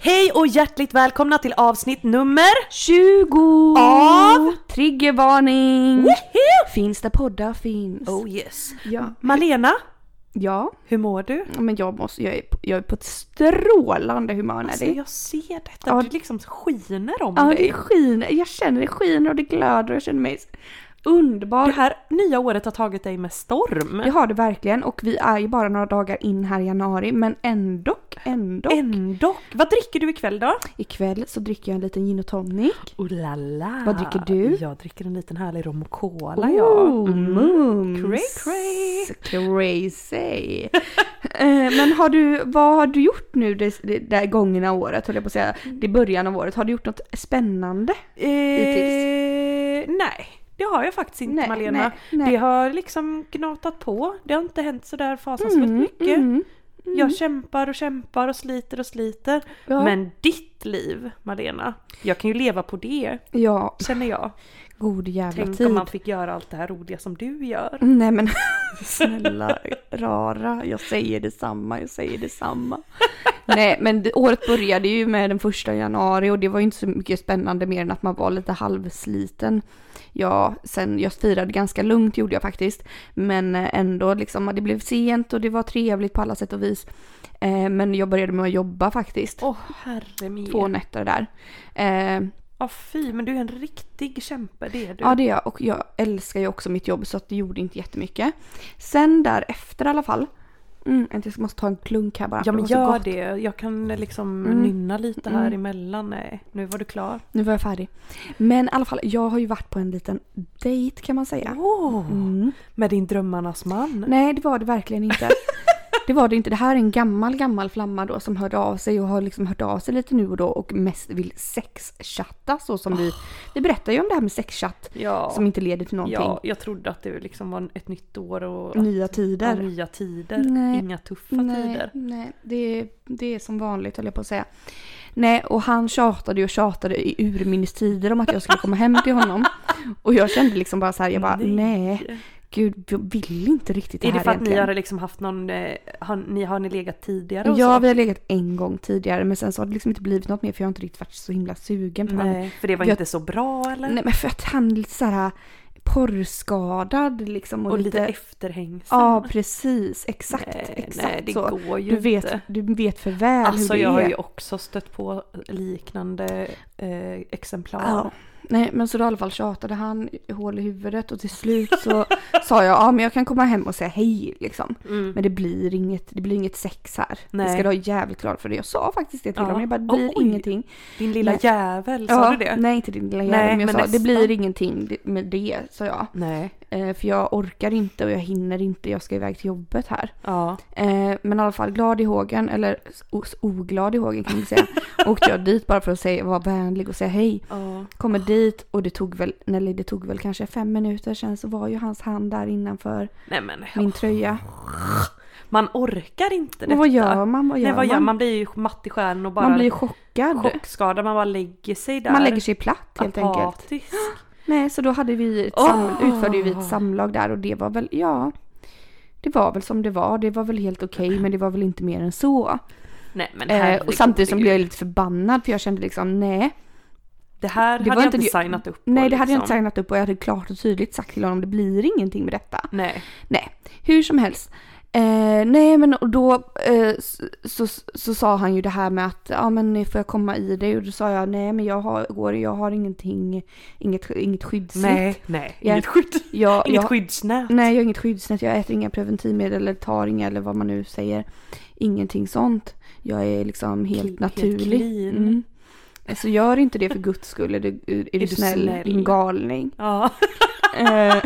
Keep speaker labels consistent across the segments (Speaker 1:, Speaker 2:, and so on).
Speaker 1: Hej och hjärtligt välkomna till avsnitt nummer...
Speaker 2: 20!
Speaker 1: Av?
Speaker 2: Triggervarning!
Speaker 1: Woho!
Speaker 2: Finns där poddar finns.
Speaker 1: Oh yes.
Speaker 2: Ja.
Speaker 1: Malena,
Speaker 3: Ja,
Speaker 1: hur mår du?
Speaker 3: men jag, måste, jag, är, på- jag är på ett strålande humör när
Speaker 1: Alltså
Speaker 3: det
Speaker 1: jag ser detta,
Speaker 3: Ja.
Speaker 1: du liksom skiner om
Speaker 3: Ja, det
Speaker 1: dig.
Speaker 3: skiner. Jag känner det skiner och det glöder och jag känner mig underbar.
Speaker 1: Det här nya året har tagit dig med storm.
Speaker 3: Jag har det verkligen och vi är ju bara några dagar in här i januari men ändå, ändå.
Speaker 1: Ändå. Vad dricker du ikväll då?
Speaker 3: Ikväll så dricker jag en liten gin och tonic.
Speaker 1: Oh la la.
Speaker 3: Vad dricker du?
Speaker 1: Jag dricker en liten härlig rom och cola Mm. jag.
Speaker 3: Mm. mums!
Speaker 1: Cray, cray.
Speaker 3: Crazy! Eh, men har du, vad har du gjort nu det, det där gångna året höll jag på att säga, det är början av året. Har du gjort något spännande?
Speaker 1: Eh, nej, det har jag faktiskt inte
Speaker 3: Nej,
Speaker 1: Malena.
Speaker 3: nej, nej.
Speaker 1: Det har liksom gnatat på. Det har inte hänt sådär fasansfullt mycket.
Speaker 3: Mm.
Speaker 1: Jag kämpar och kämpar och sliter och sliter.
Speaker 3: Ja.
Speaker 1: Men ditt liv Malena, jag kan ju leva på det
Speaker 3: Ja,
Speaker 1: känner jag.
Speaker 3: god jävla
Speaker 1: Tänk
Speaker 3: tid.
Speaker 1: om man fick göra allt det här roliga som du gör.
Speaker 3: Nej men snälla rara, jag säger detsamma, jag säger detsamma. Nej men det, året började ju med den första januari och det var ju inte så mycket spännande mer än att man var lite halvsliten. Ja, sen jag firade ganska lugnt gjorde jag faktiskt. Men ändå liksom, det blev sent och det var trevligt på alla sätt och vis. Eh, Men jag började med att jobba faktiskt.
Speaker 1: Åh herre min.
Speaker 3: Två nätter där. Eh,
Speaker 1: Ja fy, men du är en riktig kämpe det är du.
Speaker 3: Ja det är jag och jag älskar ju också mitt jobb så att det gjorde inte jättemycket. Sen därefter i alla fall. Mm, vänta, jag måste ta en klunk här bara.
Speaker 1: Ja men
Speaker 3: var så
Speaker 1: gör
Speaker 3: gott.
Speaker 1: det. Alltså, Jag kan liksom
Speaker 3: Mm.
Speaker 1: nynna lite här
Speaker 3: Mm.
Speaker 1: emellan. Nej, nu var du klar.
Speaker 3: Nu var jag färdig. Men i alla fall, jag har ju varit på en liten dejt kan man säga.
Speaker 1: Åh,
Speaker 3: Mm.
Speaker 1: Med din drömmarnas man.
Speaker 3: Nej det var det verkligen inte. Det var det inte. Det här är en gammal, gammal flamma då som hörde av sig och har liksom hört av sig lite nu och då och mest vill sexchatta så som vi... Vi berättar ju om det här med sexchatt
Speaker 1: Ja.
Speaker 3: som inte leder till någonting.
Speaker 1: ja, jag trodde att det liksom var ett nytt år och att-
Speaker 3: Nya tider.
Speaker 1: Ja, nya tider.
Speaker 3: Nej.
Speaker 1: Inga tuffa tider.
Speaker 3: Nej, det, det är som vanligt höll jag på att säga. Nej, och han tjatade och tjatade i urminnes tider om att jag skulle komma hem till honom. Och jag kände liksom bara så här, jag bara nej, gud jag vill inte riktigt det
Speaker 1: Är det
Speaker 3: här
Speaker 1: för att ni
Speaker 3: egentligen.
Speaker 1: har liksom haft någon, eh, har, ni har ni legat tidigare och
Speaker 3: Ja,
Speaker 1: så?
Speaker 3: vi har legat en gång tidigare men sen så har det liksom inte blivit något mer för jag har inte riktigt varit så himla sugen på honom.
Speaker 1: Nej, för det var
Speaker 3: Jag-
Speaker 1: inte så bra eller?
Speaker 3: Nej men för att han är lite så här porrskadad liksom och,
Speaker 1: och lite
Speaker 3: lite...
Speaker 1: efterhängsen.
Speaker 3: Ja precis, exakt,
Speaker 1: nej,
Speaker 3: exakt
Speaker 1: nej, det
Speaker 3: så.
Speaker 1: går ju
Speaker 3: Du vet,
Speaker 1: inte.
Speaker 3: du vet för väl hur
Speaker 1: Alltså
Speaker 3: det
Speaker 1: jag har
Speaker 3: är.
Speaker 1: ju också stött på liknande eh, exemplar.
Speaker 3: Ja. Nej men så då i alla fall tjatade han hål i huvudet och till slut så sa jag ja men jag kan komma hem och säga hej liksom.
Speaker 1: Mm.
Speaker 3: Men det blir inget, det blir inget sex här.
Speaker 1: Nej.
Speaker 3: Det ska du ha jävligt glad för det. Jag sa faktiskt det till
Speaker 1: Ja.
Speaker 3: honom. Jag bara det blir
Speaker 1: Oj,
Speaker 3: ingenting.
Speaker 1: Din lilla
Speaker 3: Nej.
Speaker 1: jävel, sa du det?
Speaker 3: Nej inte din lilla
Speaker 1: Nej,
Speaker 3: jävel men jag
Speaker 1: men
Speaker 3: sa
Speaker 1: nästan.
Speaker 3: det blir ingenting med det sa jag.
Speaker 1: Nej.
Speaker 3: Eh, för jag orkar inte och jag hinner inte. Jag ska iväg till jobbet här.
Speaker 1: Ja.
Speaker 3: Eh, men i alla fall glad i hågen eller os- oglad i hågen kan man säga. Åkte jag dit bara för att säga, vara vänlig och säga hej.
Speaker 1: ja.
Speaker 3: Kommer dit och det tog väl, eller det tog väl kanske fem minuter sen så var ju hans hand där innanför
Speaker 1: Nej men
Speaker 3: min tröja.
Speaker 1: man orkar inte detta.
Speaker 3: Men vad gör man? Vad gör
Speaker 1: Nej vad gör man?
Speaker 3: man?
Speaker 1: Man blir ju matt i stjärnan och bara
Speaker 3: Man blir ju chockad.
Speaker 1: chockskadad. Man bara lägger sig där.
Speaker 3: Man lägger sig platt helt enkelt.
Speaker 1: Apatisk.
Speaker 3: Nej, så då hade vi ett sam-
Speaker 1: Åh!
Speaker 3: utförde ju vi ett samlag där och det var väl, ja. Det var väl som det var. Det var väl helt okej men det var väl inte mer än så.
Speaker 1: Nej men
Speaker 3: Eh,
Speaker 1: herregud.
Speaker 3: och samtidigt som blev jag lite förbannad för jag kände liksom nej.
Speaker 1: Det här
Speaker 3: Det
Speaker 1: hade
Speaker 3: var
Speaker 1: jag inte
Speaker 3: inte-
Speaker 1: signat upp på.
Speaker 3: Nej det hade jag inte
Speaker 1: liksom.
Speaker 3: signat upp och jag hade klart och tydligt sagt till honom det blir ingenting med detta.
Speaker 1: Nej.
Speaker 3: Nej, hur som helst. Eh, nej men och då eh, så, så, så sa han ju det här med att ja men får jag komma i dig och då sa jag nej men jag har, går, jag har ingenting, inget, inget skyddsnät.
Speaker 1: Nej, nej.
Speaker 3: Ja. Mm,
Speaker 1: Inget, skydd,
Speaker 3: jag,
Speaker 1: inget
Speaker 3: jag,
Speaker 1: skyddsnät.
Speaker 3: Nej jag har inget skyddsnät, jag äter inga preventivmedel eller tar inga eller vad man nu säger. Ingenting sånt. Jag är liksom helt
Speaker 1: Cl- helt
Speaker 3: naturlig.
Speaker 1: clean.
Speaker 3: Mm. Alltså gör inte det för guds skull, är du, är du,
Speaker 1: du
Speaker 3: snäll,
Speaker 1: snäll?
Speaker 3: din galning.
Speaker 1: Ja.
Speaker 3: Eh,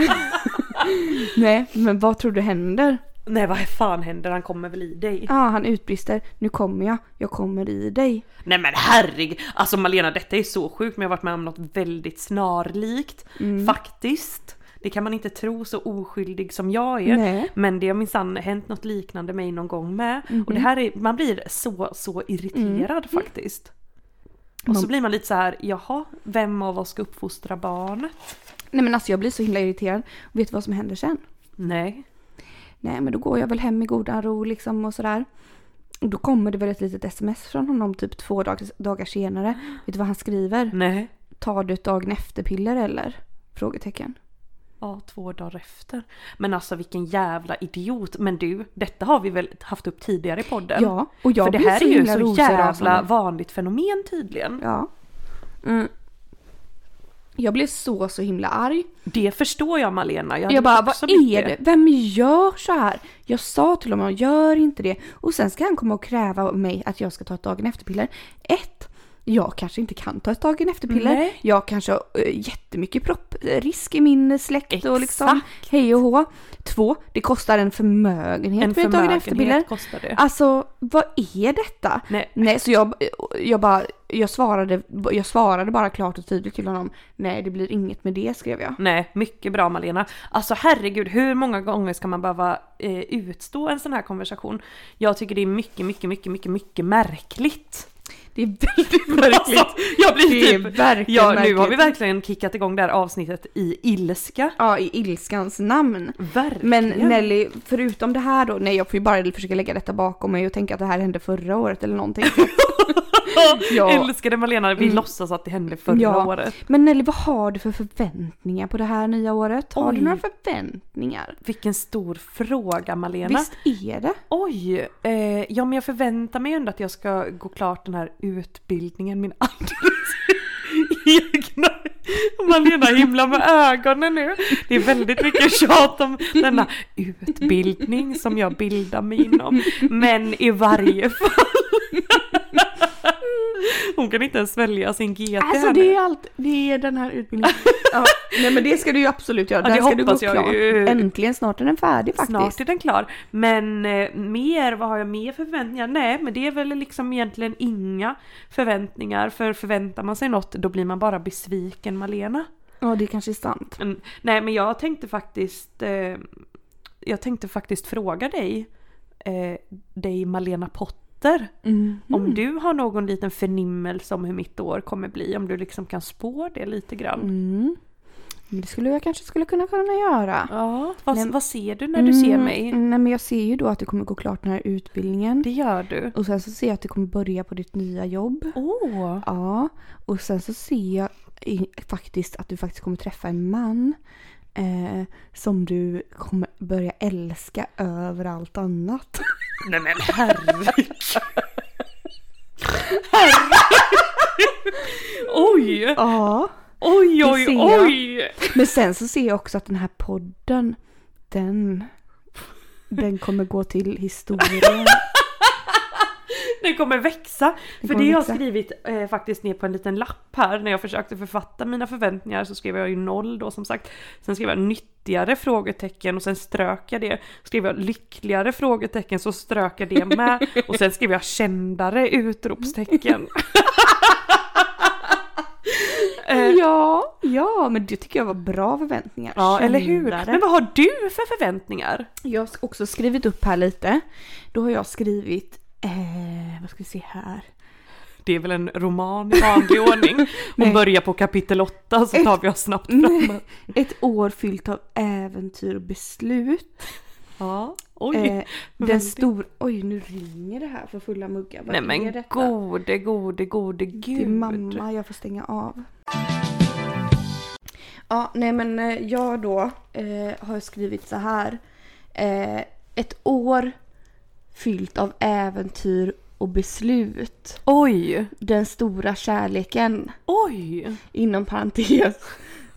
Speaker 3: nej men vad tror du händer?
Speaker 1: Nej vad fan händer, han kommer väl i dig?
Speaker 3: Ja, han utbrister. Nu kommer jag. Jag kommer i dig.
Speaker 1: Nej men herregud! Alltså Malena detta är så sjukt men jag har varit med om något väldigt snarlikt.
Speaker 3: Mm.
Speaker 1: Faktiskt. Det kan man inte tro så oskyldig som jag är.
Speaker 3: Nej.
Speaker 1: Men det har minsann hänt något liknande mig någon gång med. Och
Speaker 3: Mhm.
Speaker 1: det här är, man blir så så irriterad
Speaker 3: Mm.
Speaker 1: faktiskt. Och så blir man lite så här, jaha, vem av oss ska uppfostra barnet?
Speaker 3: Nej men alltså jag blir så himla irriterad. Och vet du vad som händer sen?
Speaker 1: Nej.
Speaker 3: Nej men då går jag väl hem i godan ro liksom och sådär. Och då kommer det väl ett litet sms från honom typ två dag- dagar senare. Vet du vad han skriver?
Speaker 1: Nej.
Speaker 3: Tar du ett dagen efter-piller eller? Frågetecken.
Speaker 1: Ja, två dagar efter. Men alltså vilken jävla idiot. Men du, detta har vi väl haft upp tidigare i podden?
Speaker 3: Ja, och jag
Speaker 1: För det
Speaker 3: blir
Speaker 1: här
Speaker 3: så
Speaker 1: är ju
Speaker 3: himla
Speaker 1: så
Speaker 3: rosenrasande.
Speaker 1: jävla vanligt fenomen tydligen.
Speaker 3: Ja. Mm. Jag blev så så himla arg.
Speaker 1: Det förstår jag Malena. hade
Speaker 3: Jag bara,
Speaker 1: också
Speaker 3: vad
Speaker 1: blivit
Speaker 3: är det? Vem gör så här? Jag sa till honom, gör inte det. Och sen ska han komma och kräva av mig att jag ska ta ett dagen efter-piller. Ett, jag kanske inte kan ta ett dagen efter-piller.
Speaker 1: Nej.
Speaker 3: Jag kanske har eh, jättemycket propprisk i min eh, släkt och liksom hej och hå. Två, det kostar en förmögenhet
Speaker 1: En
Speaker 3: med ett dagen efter-piller.
Speaker 1: förmögenhet kostar det.
Speaker 3: Alltså, vad är detta?
Speaker 1: Nej.
Speaker 3: så jag, eh, jag bara, jag svarade, jag svarade bara klart och tydligt till honom. Nej, det blir inget med det skrev jag.
Speaker 1: Nej, mycket bra Malena. Alltså herregud, hur många gånger ska man behöva eh, utstå en sån här konversation? Jag tycker det är mycket, mycket, mycket, mycket, mycket märkligt.
Speaker 3: Det är väldigt märkligt.
Speaker 1: Alltså, jag blir
Speaker 3: Det är
Speaker 1: typ...
Speaker 3: verkligen
Speaker 1: Ja, nu
Speaker 3: märkligt.
Speaker 1: har vi verkligen kickat igång det här avsnittet i ilska.
Speaker 3: Ja, i ilskans namn.
Speaker 1: Verkligen.
Speaker 3: Men Nelly, förutom det här då, nej jag får ju bara försöka lägga detta bakom mig och tänka att det här hände förra året eller någonting. ja. Mm.
Speaker 1: Älskade Malena, vi låtsas att det hände förra
Speaker 3: Ja.
Speaker 1: året.
Speaker 3: Men Nelly, vad har du för förväntningar på det här nya året? Har du
Speaker 1: Oj.
Speaker 3: några förväntningar?
Speaker 1: Vilken stor fråga Malena.
Speaker 3: Visst är det?
Speaker 1: Oj! Eh, ja men jag förväntar mig ändå att jag ska gå klart den här utbildningen, min alldeles egna. Malena himlar med ögonen nu. Det är väldigt mycket tjat om denna utbildning som jag bildar mig inom. Men i varje fall. Hon kan inte ens svälja sin GT
Speaker 3: Alltså
Speaker 1: här
Speaker 3: det
Speaker 1: nu.
Speaker 3: är allt, det är den här utbildningen. ja, nej men det ska du ju absolut göra,
Speaker 1: Ja,
Speaker 3: den
Speaker 1: det
Speaker 3: ska du gå
Speaker 1: hoppas jag
Speaker 3: klart.
Speaker 1: ju.
Speaker 3: Äntligen, snart är den färdig faktiskt.
Speaker 1: Snart är den klar. Men eh, mer, vad har jag mer för förväntningar? Nej, men det är väl liksom egentligen inga förväntningar. För förväntar man sig något då blir man bara besviken Malena.
Speaker 3: Ja det kanske är sant.
Speaker 1: Mm, nej, men jag tänkte faktiskt eh, Jag tänkte faktiskt fråga dig eh, dig Malena Potter
Speaker 3: Mm.
Speaker 1: om du har någon liten förnimmelse om hur mitt år kommer bli. Om du liksom kan spå det lite grann.
Speaker 3: Mm. Men Det skulle jag kanske skulle kunna kunna göra.
Speaker 1: Ja, vad,
Speaker 3: Nej, men-
Speaker 1: vad ser du när du ser
Speaker 3: Mm,
Speaker 1: mig?
Speaker 3: Nej men jag ser ju då att du kommer gå klart den här utbildningen.
Speaker 1: Det gör du.
Speaker 3: Och sen så ser jag att du kommer börja på ditt nya jobb.
Speaker 1: Åh!
Speaker 3: Ja. Och sen så ser jag i- faktiskt att du faktiskt kommer träffa en man. Eh, som du kommer börja älska över allt annat.
Speaker 1: Nej men herregud. oj,
Speaker 3: Ja.
Speaker 1: oj,
Speaker 3: Det
Speaker 1: oj,
Speaker 3: ser jag.
Speaker 1: oj!
Speaker 3: Men sen så ser jag också att den här podden, den, den kommer gå till historien.
Speaker 1: Den kommer växa.
Speaker 3: Den
Speaker 1: För
Speaker 3: kommer
Speaker 1: det jag har
Speaker 3: växa.
Speaker 1: skrivit eh, faktiskt ner på en liten lapp här när jag försökte författa mina förväntningar så skrev jag ju noll då som sagt. Sen skrev jag nyttigare frågetecken och sen strök jag det. Skrev jag lyckligare frågetecken så strök jag det med. Och sen skrev jag kändare utropstecken.
Speaker 3: ja, ja, men det tycker jag var bra förväntningar.
Speaker 1: Ja, eller hur?
Speaker 3: Kändare.
Speaker 1: Men vad har du för förväntningar?
Speaker 3: Jag har också skrivit upp här lite. Då har jag skrivit, eh, vad ska vi se här?
Speaker 1: Det är väl en roman i vanlig ordning.
Speaker 3: Nej. Eh, mm.
Speaker 1: Och börja på kapitel 8 så tar vi oss snabbt framåt.
Speaker 3: Ett år fyllt av äventyr och beslut.
Speaker 1: Ja, oj.
Speaker 3: Eh, den
Speaker 1: väldigt.
Speaker 3: stor... Oj, nu ringer det här för fulla muggar. Vad
Speaker 1: Nej
Speaker 3: är
Speaker 1: men
Speaker 3: detta?
Speaker 1: gode, gode, gode
Speaker 3: Det är
Speaker 1: gud.
Speaker 3: mamma, jag får stänga av. Ja, nej men eh, jag då eh, har skrivit så här. Eh, ett år fyllt av äventyr och beslut.
Speaker 1: Oj,
Speaker 3: Den stora kärleken.
Speaker 1: oj.
Speaker 3: Inom parentes.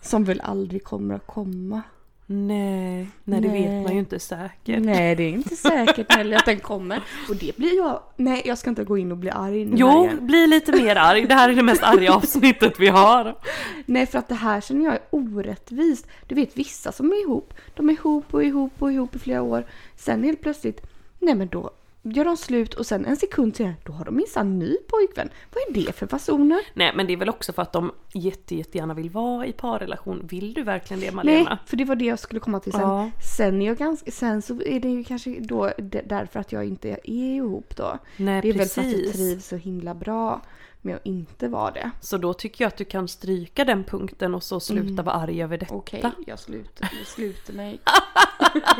Speaker 3: Som väl aldrig kommer att komma.
Speaker 1: Nej, nej det
Speaker 3: Nej.
Speaker 1: vet man ju inte säkert.
Speaker 3: Nej det är inte säkert heller att den kommer. Och det blir jag, nej jag ska inte gå in och bli arg nu här
Speaker 1: Jo,
Speaker 3: igen.
Speaker 1: bli lite mer arg. Det här är det mest arga avsnittet vi har.
Speaker 3: Nej för att det här känner jag är orättvist. Du vet vissa som är ihop, de är ihop och ihop och ihop i flera år. Sen helt plötsligt, nej men då gör de slut och sen en sekund senare, då har de minsann ny pojkvän. Vad är det för fasoner?
Speaker 1: Nej, men det är väl också för att de jätte, jättegärna vill vara i parrelation. Vill du verkligen det
Speaker 3: Nej,
Speaker 1: Malena?
Speaker 3: för det var det jag skulle komma till sen.
Speaker 1: Ja.
Speaker 3: Sen, är jag ganska, sen så är det ju kanske då d- därför att jag inte är ihop då.
Speaker 1: Nej,
Speaker 3: det är väl för att jag
Speaker 1: precis.
Speaker 3: trivs så himla bra med att inte vara det.
Speaker 1: Så då tycker jag att du kan stryka den punkten och så sluta vara arg över detta.
Speaker 3: Okej, jag sluter, jag sluter mig.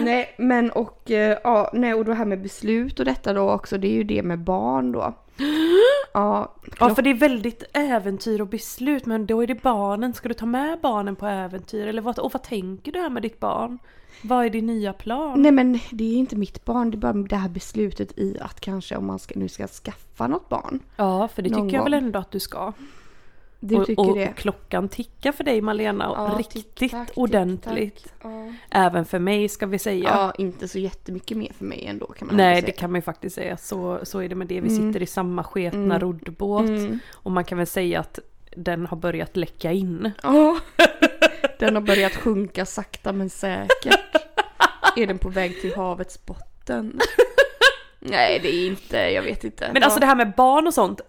Speaker 3: nej, men och, eh, ja, nej, och då här med beslut och detta då också, det är ju det med barn då. Ja,
Speaker 1: Ja, för det är väldigt äventyr och beslut. Men då är det barnen. Ska du ta med barnen på äventyr? Eller vad, och vad tänker du här med ditt barn? Vad är din nya plan?
Speaker 3: Nej men det är inte mitt barn, det är bara det här beslutet i att kanske om man ska, nu ska skaffa något barn.
Speaker 1: Ja, för det
Speaker 3: Någon
Speaker 1: tycker jag väl
Speaker 3: gång.
Speaker 1: ändå att du ska.
Speaker 3: Du
Speaker 1: och,
Speaker 3: tycker
Speaker 1: och
Speaker 3: det?
Speaker 1: klockan tickar för dig Malena.
Speaker 3: Ja,
Speaker 1: riktigt
Speaker 3: tick-tack, tick-tack.
Speaker 1: ordentligt.
Speaker 3: Ja.
Speaker 1: Även för mig ska vi säga.
Speaker 3: Ja. inte så jättemycket mer för mig ändå kan man
Speaker 1: Nej
Speaker 3: ändå
Speaker 1: det
Speaker 3: säga.
Speaker 1: kan man ju faktiskt säga, Mm. så, så är det med det. Vi sitter i samma sketna roddbåt. Och man kan väl säga att den har börjat läcka in.
Speaker 3: Ja. Den har börjat sjunka sakta men säkert. är den på väg till havets botten? Nej det är inte, jag vet inte.
Speaker 1: Men alltså det här med barn och sånt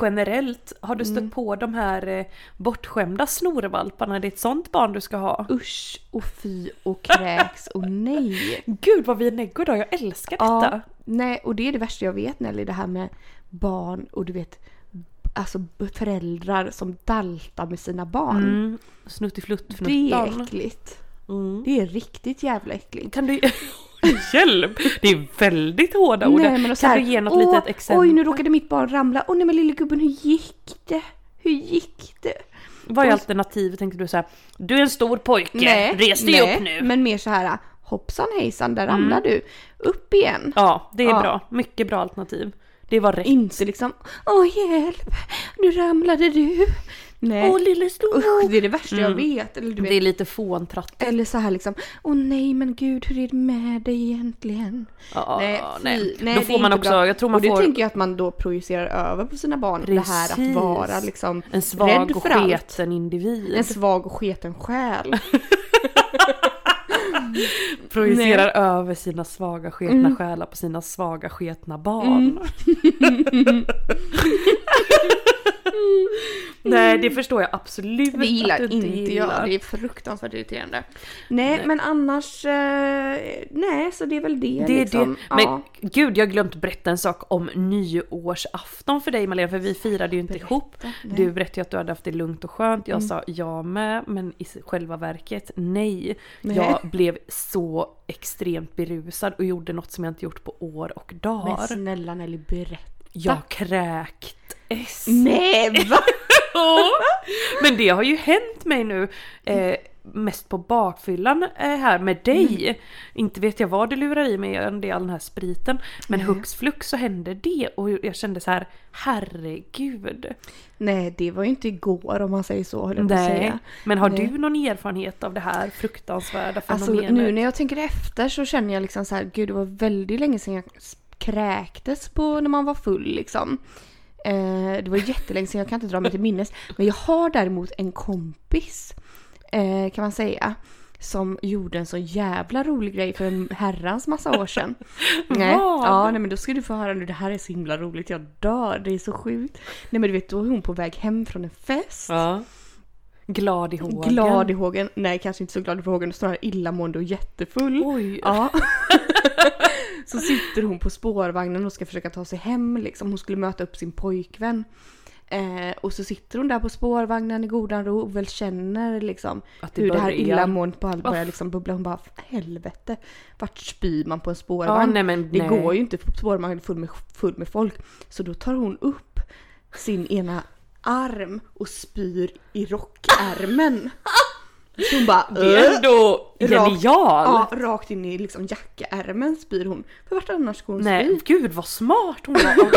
Speaker 1: generellt, har du
Speaker 3: Mm.
Speaker 1: stött på de här eh, bortskämda snorvalparna? Det är ett sånt barn du ska ha?
Speaker 3: Usch och fy och kräks och nej.
Speaker 1: Gud vad vi är neggo idag, jag älskar detta!
Speaker 3: Ja, nej, och det är det värsta jag vet Nelly, det här med barn och du vet alltså b- föräldrar som daltar med sina barn.
Speaker 1: Mm.
Speaker 3: Det är
Speaker 1: Snuttiflutt-fnuttan.
Speaker 3: äckligt.
Speaker 1: Mm.
Speaker 3: Det är riktigt jävla äckligt.
Speaker 1: Kan du... Hjälp! Det är väldigt hårda ord.
Speaker 3: och så
Speaker 1: Kan
Speaker 3: alltså, här,
Speaker 1: du alltså, ge något
Speaker 3: "Åh,
Speaker 1: litet exempel?
Speaker 3: Oj, nu råkade mitt barn ramla. Åh nej men lille gubben, hur gick det? Hur gick det?
Speaker 1: Vad är
Speaker 3: Oj.
Speaker 1: alternativet? Tänkte du så här, du är en stor pojke, res dig
Speaker 3: nej,
Speaker 1: upp nu! Mm.
Speaker 3: Men mer så här, hoppsan hejsan, där ramlade du. Upp igen.
Speaker 1: Ja, det är
Speaker 3: Ja.
Speaker 1: bra. Mycket bra alternativ. Det var rätt.
Speaker 3: Inte liksom, åh hjälp, nu ramlade du. Nej.
Speaker 1: lille Mm.
Speaker 3: Usch, det är det värsta jag vet. Eller, du vet.
Speaker 1: Det är lite fåntratt.
Speaker 3: eller så här liksom, åh nej men gud hur är det med dig egentligen?
Speaker 1: Ja, nej,
Speaker 3: fy.
Speaker 1: Då
Speaker 3: det är
Speaker 1: får man
Speaker 3: inte
Speaker 1: också,
Speaker 3: bra.
Speaker 1: jag tror man
Speaker 3: och det
Speaker 1: får
Speaker 3: tänker jag att man då projicerar över på sina barn. Det här att
Speaker 1: Precis.
Speaker 3: vara liksom
Speaker 1: en svag
Speaker 3: rädd
Speaker 1: och
Speaker 3: för allt.
Speaker 1: sketen individ.
Speaker 3: En svag och sketen själ.
Speaker 1: projicerar över sina svaga sketna
Speaker 3: Mm.
Speaker 1: själar på sina svaga sketna barn.
Speaker 3: Mm.
Speaker 1: nej, det förstår jag absolut
Speaker 3: Det gillar
Speaker 1: att du
Speaker 3: inte, jag. Det är fruktansvärt irriterande. Nej, men annars... Eh, nej, så det är väl det,
Speaker 1: Det är
Speaker 3: liksom.
Speaker 1: det. Men
Speaker 3: Ja.
Speaker 1: gud, jag har glömt berätta en sak om nyårsafton för dig Malena, för vi firade ju inte ihop. Du berättade ju att du hade haft det lugnt och skönt.
Speaker 3: Mm.
Speaker 1: Jag sa ja med, men i själva verket nej.
Speaker 3: Nej.
Speaker 1: Jag blev så extremt berusad och gjorde något som jag inte gjort på år och
Speaker 3: Men
Speaker 1: dagar.
Speaker 3: snälla Nelly, berätta.
Speaker 1: Jag kräktes.
Speaker 3: Nej, va?
Speaker 1: Ja. Men det har ju hänt mig nu. Eh, mest på bakfyllan eh, här med dig. Inte vet jag vad du lurar i mig än det är all den här spriten. Men hux flux så hände det och jag kände så här herregud.
Speaker 3: nej, det var ju inte igår om man säger så, höll jag på att
Speaker 1: Nej.
Speaker 3: säga.
Speaker 1: Men har
Speaker 3: Nej.
Speaker 1: du någon erfarenhet av det här fruktansvärda
Speaker 3: Alltså
Speaker 1: fenomenet?
Speaker 3: nu när jag tänker efter så känner jag liksom så här, gud det var väldigt länge sedan jag s- kräktes på när man var full liksom. Eh, det var jättelänge sedan, jag kan inte dra mig till minnes. Men jag har däremot en kompis, eh, kan man säga, som gjorde en så jävla rolig grej för en herrans massa år sedan. nej,
Speaker 1: Vad?
Speaker 3: ja, nej men då ska du få höra nu, det här är så himla roligt, jag dör, det är så sjukt. Nej men du vet, då är hon på väg hem från en fest.
Speaker 1: Ja. Glad i hågen.
Speaker 3: Glad i hågen, nej kanske inte så glad i hågen, snarare illamående och jättefull.
Speaker 1: Oj.
Speaker 3: Ja. så sitter hon på spårvagnen och ska försöka ta sig hem liksom. Hon skulle möta upp sin pojkvän. Eh, och så sitter hon där på spårvagnen i godan ro och väl känner liksom
Speaker 1: Att det
Speaker 3: hur det här
Speaker 1: börjar.
Speaker 3: illamåendet på allvar börjar
Speaker 1: Uff.
Speaker 3: liksom bubbla. Hon bara helvete, vart spyr man på en
Speaker 1: Ja,
Speaker 3: spårvagn?
Speaker 1: nej men
Speaker 3: det
Speaker 1: nej.
Speaker 3: går ju inte, spårvagnen är full med, full med folk. Så då tar hon upp sin ena arm och spyr i rockärmen. Så hon bara
Speaker 1: Det är ändå genial!
Speaker 3: Ja, rakt in i liksom jackaärmen spyr hon. För vart annars skulle hon spy?
Speaker 1: Nej, gud vad smart hon var!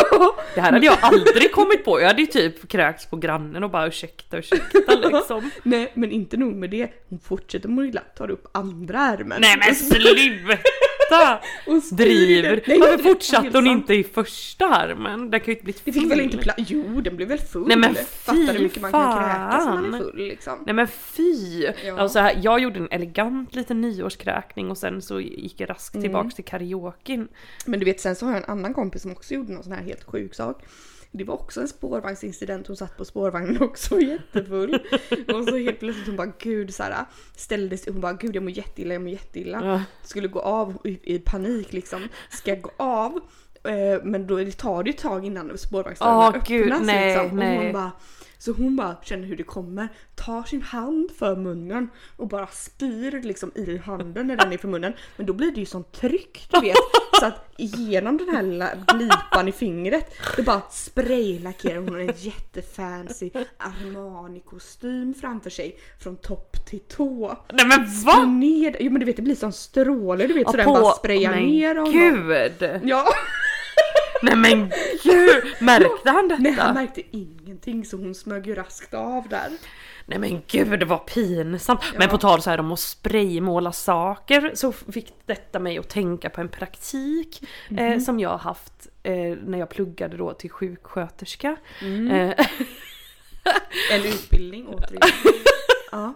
Speaker 1: Det här hade jag aldrig kommit på. Jag hade ju typ kräkts på grannen och bara ursäkta, ursäkta liksom.
Speaker 3: Nej men inte nog med det, hon fortsätter mygla, tar upp andra ärmen.
Speaker 1: Nej men sluta!
Speaker 3: och spyr
Speaker 1: Driver!
Speaker 3: det. Nej,
Speaker 1: Varför
Speaker 3: det är
Speaker 1: fortsatte
Speaker 3: helt
Speaker 1: hon
Speaker 3: sant.
Speaker 1: inte i första armen? Den kan ju inte bli
Speaker 3: Det fick väl inte plats? Jo den blev väl full?
Speaker 1: Nej, men
Speaker 3: Fattar hur
Speaker 1: fy
Speaker 3: mycket man kan kräkas när man är
Speaker 1: fan.
Speaker 3: full liksom.
Speaker 1: Nej men fy!
Speaker 3: Ja.
Speaker 1: Alltså, här- jag gjorde en elegant liten nyårskräkning och sen så gick jag
Speaker 3: Mm.
Speaker 1: raskt tillbaks till karaoken.
Speaker 3: Men du vet sen så har jag en annan kompis som också gjorde någon sån här helt sjuk sak. Det var också en spårvagnsincident, hon satt på spårvagnen också jättefull. Och så helt plötsligt hon bara gud Sara ställde sig hon bara gud jag mår jätteilla, jag mår jätteilla.
Speaker 1: Ja.
Speaker 3: Skulle gå av i, i panik liksom. Ska gå av. eh, Men då det tar det ju ett tag innan spårvagnsdörrarna
Speaker 1: Åh,
Speaker 3: öppnas
Speaker 1: gud, nej,
Speaker 3: liksom. Och Hon
Speaker 1: nej.
Speaker 3: bara, så hon bara känner hur det kommer, tar sin hand för munnen och bara spyr liksom i handen när den är för munnen. Men då blir det ju sånt tryck du vet. Så att genom den här lilla glipan i fingret det bara spraylackerar hon en jättefancy Armani-kostym framför sig från topp till tå.
Speaker 1: Nej men
Speaker 3: Va?
Speaker 1: vad?
Speaker 3: Ner, jo men du vet det blir som stråle du vet så den bara sprayar
Speaker 1: men
Speaker 3: ner honom.
Speaker 1: gud!
Speaker 3: Ja.
Speaker 1: Nej men gud! Märkte han detta?
Speaker 3: Nej han märkte ingenting så hon smög ju raskt av där.
Speaker 1: Nej men gud vad pinsamt! Men på tal så här om att spraymåla saker så fick detta mig att tänka på en praktik
Speaker 3: Mhm.
Speaker 1: eh, som jag har haft eh, när jag pluggade då till sjuksköterska.
Speaker 3: Mm.
Speaker 1: Eh,
Speaker 3: En utbildning återigen. ja.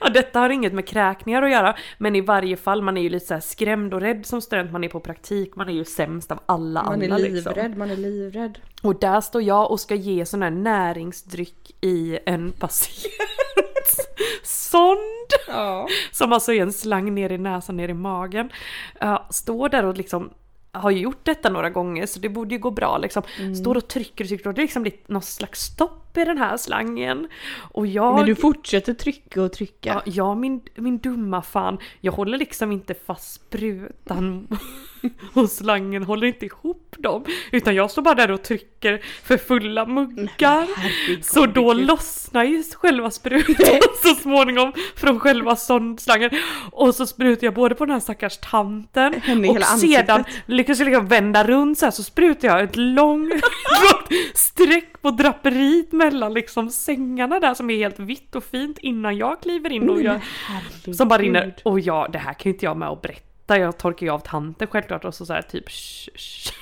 Speaker 1: Ja, detta har inget med kräkningar att göra, men i varje fall man är ju lite så här skrämd och rädd som student, man är på praktik, man är ju sämst av alla
Speaker 3: Man är
Speaker 1: andra liksom.
Speaker 3: livrädd, man är livrädd.
Speaker 1: Och där står jag och ska ge sån här näringsdryck i en patients sond.
Speaker 3: Ja.
Speaker 1: Som alltså är en slang ner i näsan, ner i magen. Ja, står där och liksom har ju gjort detta några gånger så det borde ju gå bra liksom.
Speaker 3: Mm.
Speaker 1: Står och trycker och trycker och det är liksom lite någon slags stopp i den här slangen. Och jag...
Speaker 3: Men du fortsätter trycka och trycka.
Speaker 1: Ja, ja min, min dumma fan. Jag håller liksom inte fast sprutan och slangen håller inte ihop dem. Utan jag står bara där och trycker för fulla muggar.
Speaker 3: herregud,
Speaker 1: Så då
Speaker 3: gud.
Speaker 1: lossnar ju själva sprutan så småningom från själva sondslangen. Och så sprutar jag både på den här stackars tanten
Speaker 3: Henne i
Speaker 1: och
Speaker 3: hela
Speaker 1: sedan
Speaker 3: ansiktet.
Speaker 1: lyckas jag liksom vända runt så här så sprutar jag ett långt långt streck på draperiet mellan liksom sängarna där som är helt vitt och fint innan jag kliver in och jag, som bara rinner. Och jag, det här kan ju inte jag med och berätta. Jag torkar ju av tanten självklart och så, så här typ sh, sh.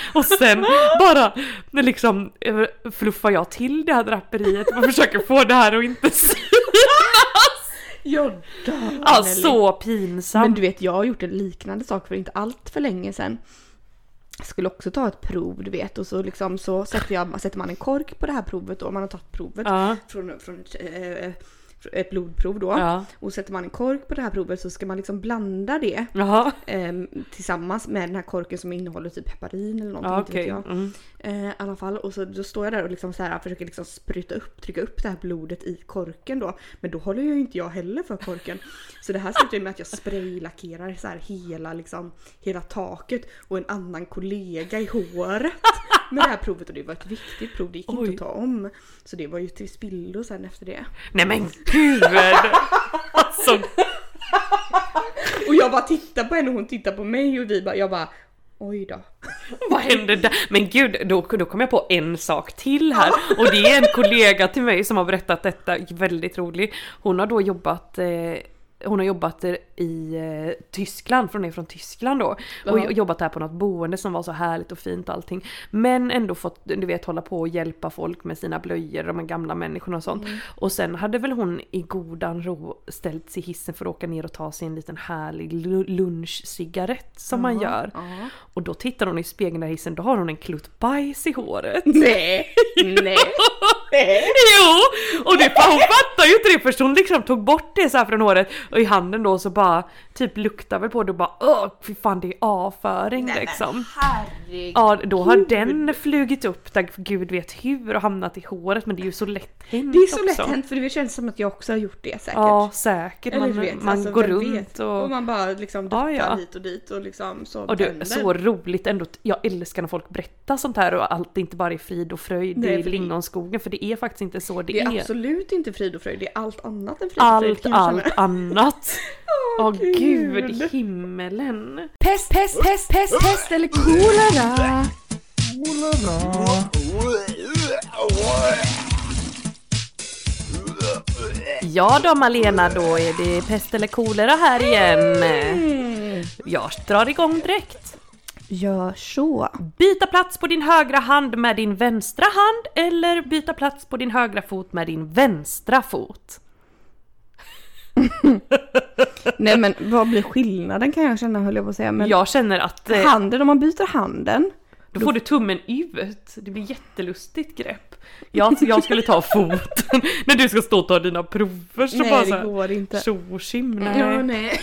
Speaker 1: Och sen bara liksom eh, fluffar jag till det här draperiet och försöker få det här att inte synas.
Speaker 3: Jag dör.
Speaker 1: Ja,
Speaker 3: Nelly.
Speaker 1: så
Speaker 3: Men
Speaker 1: pinsamt.
Speaker 3: du vet, jag har gjort en liknande sak för inte allt för länge sedan. Jag skulle också ta ett prov, du vet, och så liksom så sätter, jag, sätter man en kork på det här provet då, man har tagit provet
Speaker 1: Ja.
Speaker 3: från, från ett, eh, ett blodprov då.
Speaker 1: Ja.
Speaker 3: Och sätter man en kork på det här provet så ska man liksom blanda det
Speaker 1: Jaha.
Speaker 3: ehm, tillsammans med den här korken som innehåller typ heparin eller någonting,
Speaker 1: Ja,
Speaker 3: inte vet
Speaker 1: okej.
Speaker 3: jag.
Speaker 1: Mm.
Speaker 3: Eh, I alla fall och så då står jag där och liksom så här, försöker liksom spruta upp, trycka upp det här blodet i korken då. Men då håller ju inte jag heller för korken. Så det här slutar ju med att jag spraylackerar så här hela, liksom, hela taket och en annan kollega i håret. Med det här provet och det var ett viktigt prov, det gick
Speaker 1: Oj.
Speaker 3: inte att ta om. Så det var ju till spillo sen efter det.
Speaker 1: Nej men gud! Alltså
Speaker 3: Och jag bara tittar på henne och hon tittar på mig och vi bara, jag bara oj då.
Speaker 1: Vad hände där? Men gud, då, då kom jag på en sak till här. Och det är en kollega till mig som har berättat detta, väldigt rolig. Hon har då jobbat eh, hon har jobbat i eh, Tyskland, för hon är från Tyskland då. Och
Speaker 3: Jaha.
Speaker 1: jobbat här på något boende som var så härligt och fint och allting. Men ändå fått, du vet, hålla på och hjälpa folk med sina blöjor, de här gamla människorna och sånt.
Speaker 3: Mm.
Speaker 1: Och sen hade väl hon i godan ro ställt sig i hissen för att åka ner och ta sig en liten härlig lu- lunchcigarett som man gör.
Speaker 3: Ja.
Speaker 1: Och då tittar hon i spegeln där i hissen, då har hon en klutt bajs i håret.
Speaker 3: Nej, nej.
Speaker 1: Jo! Och det, hon fattar ju inte det först, hon liksom tog bort det så här från håret och i handen då så bara typ luktar väl på det och bara åh fy fan det är avföring liksom.
Speaker 3: Herregud.
Speaker 1: Ja då har den flugit upp där gud vet hur och hamnat i håret men det är ju så lätt hänt
Speaker 3: Det är så lätt
Speaker 1: också.
Speaker 3: hänt för det känns som att jag också har gjort det säkert.
Speaker 1: Ja säkert,
Speaker 3: Eller
Speaker 1: man,
Speaker 3: du vet,
Speaker 1: man
Speaker 3: alltså,
Speaker 1: går
Speaker 3: vem
Speaker 1: runt
Speaker 3: vet?
Speaker 1: och...
Speaker 3: och man bara liksom duttar
Speaker 1: Ja, ja.
Speaker 3: hit och dit och liksom så
Speaker 1: Och du,
Speaker 3: vänder.
Speaker 1: så roligt ändå. Jag älskar när folk berättar sånt här och allt inte bara är frid och fröjd
Speaker 3: Nej,
Speaker 1: i
Speaker 3: för det-
Speaker 1: lingonskogen för det är faktiskt inte så det,
Speaker 4: Det är
Speaker 1: är.
Speaker 4: absolut inte frid och fröjd, det är allt annat än frid och fröjd.
Speaker 1: Allt,
Speaker 4: kan jag känna.
Speaker 1: allt annat. Åh gud,
Speaker 4: gud.
Speaker 1: himmelen.
Speaker 3: Pest, pest, pest, pest, pest eller kolera?
Speaker 1: Ja då Malena, då är det pest eller kolera här igen.
Speaker 3: Mm.
Speaker 1: Jag drar igång direkt.
Speaker 3: Gör så.
Speaker 1: Byta plats på din högra hand med din vänstra hand eller byta plats på din högra fot med din vänstra fot.
Speaker 3: Nej men vad blir skillnaden kan jag känna höll jag på att säga. Men
Speaker 1: Jag känner att eh,
Speaker 3: handen, om man byter handen.
Speaker 1: då får du tummen ut. Det blir jättelustigt grepp. Jag, jag skulle ta foten när du ska stå och ta dina prover. Så bara
Speaker 4: Nej
Speaker 1: så
Speaker 4: det
Speaker 1: här,
Speaker 4: går inte.
Speaker 1: tjo och tjim, nej.
Speaker 4: Ja, nej.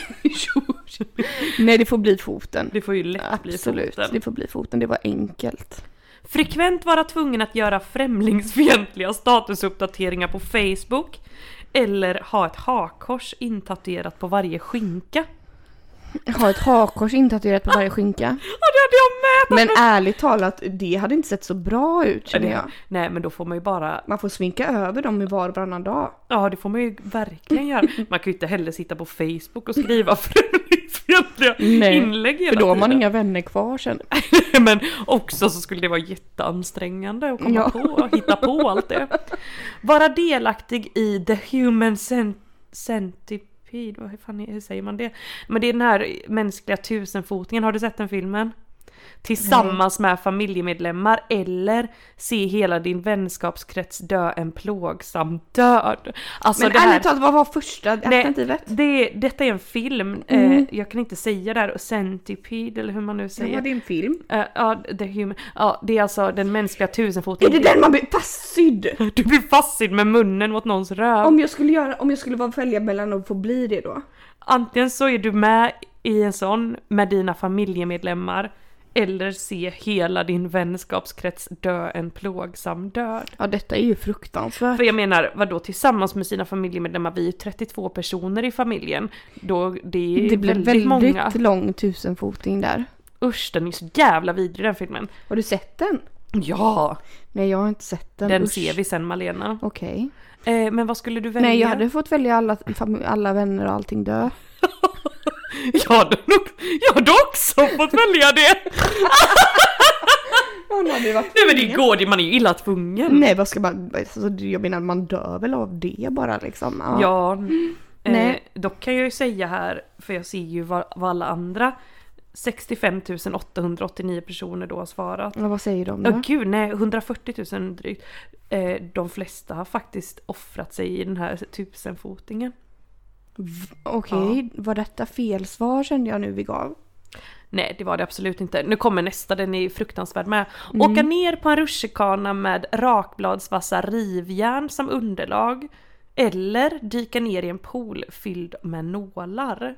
Speaker 3: Nej det får bli foten.
Speaker 1: Det får ju lätt bli
Speaker 3: Absolut,
Speaker 1: foten.
Speaker 3: det får bli foten. Det var enkelt.
Speaker 1: Frekvent vara tvungen att göra främlingsfientliga statusuppdateringar på Facebook eller ha ett hakkors intatuerat på varje skinka.
Speaker 3: Ha ett hakkors intatuerat på varje skinka.
Speaker 1: Ja, det hade jag med!
Speaker 3: Men ärligt talat, det hade inte sett så bra ut känner jag.
Speaker 1: Nej, men då får man ju bara...
Speaker 3: Man får svinka över dem i var och varannan dag.
Speaker 1: Ja, det får man ju verkligen göra. Man kan ju inte heller sitta på Facebook och skriva främlingsfientliga
Speaker 3: Nej,
Speaker 1: inlägg hela
Speaker 3: För då har man
Speaker 1: tiden.
Speaker 3: inga vänner kvar sen.
Speaker 1: Men också så skulle det vara jätteansträngande att komma
Speaker 3: Ja.
Speaker 1: på och hitta på allt det. Vara delaktig i The Human Cent- Centipede, vad fan är, hur säger man det? Men det är den här mänskliga tusenfotingen, har du sett den filmen? Tillsammans med familjemedlemmar eller se hela din vänskapskrets dö en plågsam död. Alltså
Speaker 3: Men
Speaker 1: det här...
Speaker 3: ärligt talat, vad var första alternativet?
Speaker 1: Det, detta är en film,
Speaker 3: Mm.
Speaker 1: eh, jag kan inte säga det här, Centipede eller hur man nu säger.
Speaker 4: det är en film.
Speaker 1: Eh, Ja, the human. Ja, det är alltså den mänskliga
Speaker 3: Är
Speaker 1: tusenfoten.
Speaker 3: det den man blir fastsydd?
Speaker 1: Du blir fastsydd med munnen mot någons röv.
Speaker 3: Om jag skulle göra, om jag skulle vara välja mellan att få bli det då?
Speaker 1: Antingen så är du med i en sån med dina familjemedlemmar eller se hela din vänskapskrets dö en plågsam död.
Speaker 3: Ja detta är ju fruktansvärt.
Speaker 1: För jag menar, vadå tillsammans med sina familjemedlemmar? Vi är ju 32 personer i familjen. Då det är
Speaker 3: Det blev
Speaker 1: väldigt,
Speaker 3: väldigt
Speaker 1: många.
Speaker 3: lång tusenfoting där.
Speaker 1: Usch, den är så jävla vidrig den filmen.
Speaker 3: Har du sett den?
Speaker 1: Ja!
Speaker 3: Nej jag har inte sett den.
Speaker 1: Den
Speaker 3: Usch.
Speaker 1: ser vi sen Malena.
Speaker 3: Okej.
Speaker 1: Eh, men vad skulle du välja?
Speaker 3: Nej jag hade fått välja alla, fam- alla vänner och allting dö.
Speaker 1: Jag hade, nog, jag hade också fått välja det! Nej men det går det, man är ju illa tvungen.
Speaker 3: Nej vad ska man, alltså, jag menar man dör väl av det bara liksom. Ja.
Speaker 1: Ja, eh,
Speaker 3: Nej.
Speaker 1: dock kan jag ju säga här, för jag ser ju vad, vad alla andra 65 889 personer då har svarat.
Speaker 3: Ja, Vad säger de
Speaker 1: Ja
Speaker 3: då?
Speaker 1: gud nej, 140 000 drygt. Eh, de flesta har faktiskt offrat sig i den här tusenfotingen.
Speaker 3: Okej, var detta fel svar kände jag nu vi gav?
Speaker 1: Nej det var det absolut inte. Nu kommer nästa, den är fruktansvärd med.
Speaker 3: Mm.
Speaker 1: Åka ner på en rutschkana med rakbladsvassa rivjärn som underlag. Eller dyka ner i en pool fylld med nålar.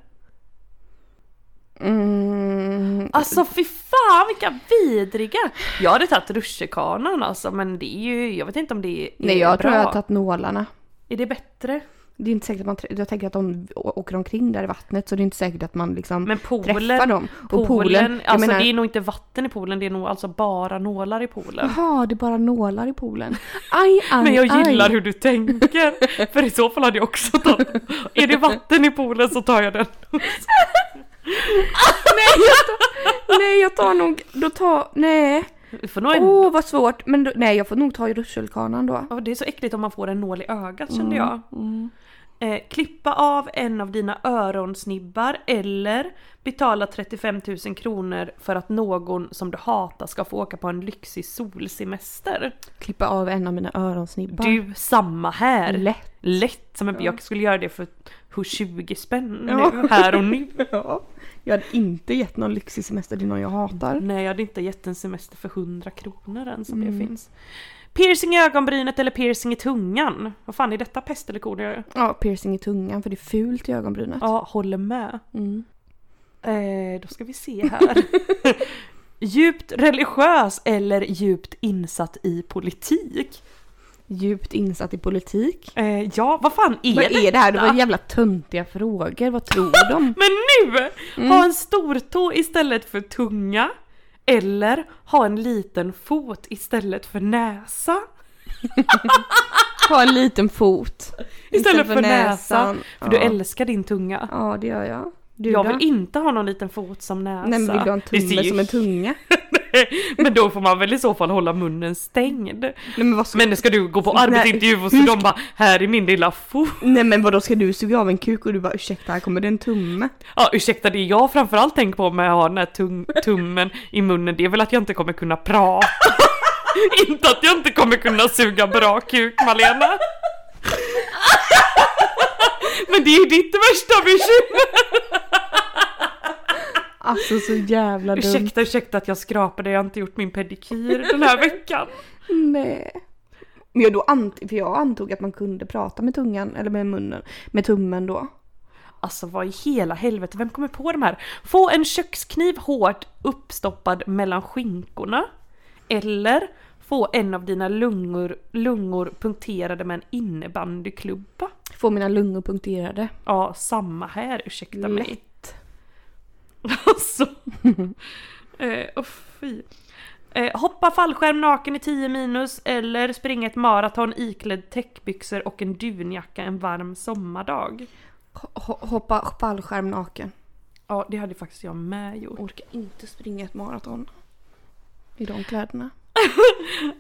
Speaker 3: Mm,
Speaker 1: Alltså fy fan vilka vidriga! Jag hade tagit rutschkanan alltså men det är ju, jag vet inte om det är
Speaker 3: nej jag
Speaker 1: bra.
Speaker 3: tror jag har tagit nålarna.
Speaker 1: Är det bättre?
Speaker 3: Det är inte säkert att man, trä- jag tänker att de å- åker omkring där i vattnet så det är inte säkert att man liksom
Speaker 1: Men poolen-
Speaker 3: träffar dem.
Speaker 1: Poolen,
Speaker 3: jag
Speaker 1: alltså
Speaker 3: menar,
Speaker 1: det är nog inte vatten i poolen, det är nog alltså bara nålar i poolen.
Speaker 3: Jaha, det är bara nålar i poolen. Aj, aj,
Speaker 1: Men jag gillar
Speaker 3: aj.
Speaker 1: hur du tänker. För i så fall hade jag också tagit... Är det vatten i poolen så tar jag den.
Speaker 3: Nej jag tar nog, då tar, nej.
Speaker 1: Du får nog
Speaker 3: Åh
Speaker 1: en...
Speaker 3: vad svårt. Men då, nej jag får nog ta i rutschkanan då.
Speaker 1: Oh. Ja, det är så äckligt om man får en nål i ögat kände jag. Eh, klippa av en av dina öronsnibbar eller betala 35 000 kronor för att någon som du hatar ska få åka på en lyxig solsemester.
Speaker 3: Klippa av en av mina öronsnibbar.
Speaker 1: Du, samma här!
Speaker 3: Lätt.
Speaker 1: Lätt som en... Jag skulle göra det för hur 20 spänn
Speaker 3: Ja.
Speaker 1: nu, här och nu.
Speaker 3: Ja. Jag hade inte gett någon lyxig semester till någon jag hatar.
Speaker 1: Nej, jag hade inte gett en semester för 100 kronor än som det finns. Piercing i ögonbrynet eller piercing i tungan? Vad fan är detta pest eller kolera?
Speaker 3: Ja, piercing i tungan för det är fult i ögonbrynet.
Speaker 1: Ja, håller med.
Speaker 3: Mm.
Speaker 1: Eh, då ska vi se här. djupt religiös eller djupt insatt i politik?
Speaker 3: Djupt insatt i politik.
Speaker 1: Eh, ja, vad fan är
Speaker 3: Vad
Speaker 1: det?
Speaker 3: är det här? Det var jävla töntiga frågor. Vad tror de?
Speaker 1: Men nu! Ha en stortå istället för tunga. Eller ha en liten fot istället för näsa.
Speaker 3: Ha en liten fot.
Speaker 1: Istället för näsa. För du älskar din tunga.
Speaker 3: Ja, det gör jag. Du
Speaker 1: Jag
Speaker 3: då?
Speaker 1: vill inte ha någon liten fot som näsa.
Speaker 3: Nej men vill du ha en
Speaker 1: Det ser
Speaker 3: tumme
Speaker 1: ju-
Speaker 3: som en tunga?
Speaker 1: Men då får man väl i så fall hålla munnen stängd.
Speaker 3: Nej men vad ska...
Speaker 1: Men ska du gå på arbetsintervju och så de bara här är min lilla fot.
Speaker 3: Nej men vadå ska du suga av en kuk och du bara ursäkta här kommer det en tumme?
Speaker 1: Ja ursäkta det jag framförallt tänker på med att ha den här tum- tummen i munnen det är väl att jag inte kommer kunna prata. inte att jag inte kommer kunna suga bra kuk Malena. Men det är ju ditt värsta bekymmer.
Speaker 3: Alltså så jävla dumt.
Speaker 1: Ursäkta ursäkta att jag skrapade, jag har inte gjort min pedikyr den här veckan.
Speaker 3: Nej. Men jag, då ant- för jag antog att man kunde prata med tungan eller med munnen, med tummen då.
Speaker 1: Alltså vad i hela helvete, vem kommer på de här? Få en kökskniv hårt uppstoppad mellan skinkorna. Eller få en av dina lungor, lungor punkterade med en innebandyklubba.
Speaker 3: Få mina lungor punkterade.
Speaker 1: Ja, samma här, ursäkta mig. Alltså. eh, oh, fy. Eh, hoppa fallskärm naken i 10 minus eller springa ett maraton iklädd täckbyxor och en dunjacka en varm sommardag.
Speaker 3: Ho- hoppa fallskärm naken.
Speaker 1: Ja, det hade faktiskt jag med gjort.
Speaker 3: Orkar inte springa ett maraton. I de kläderna.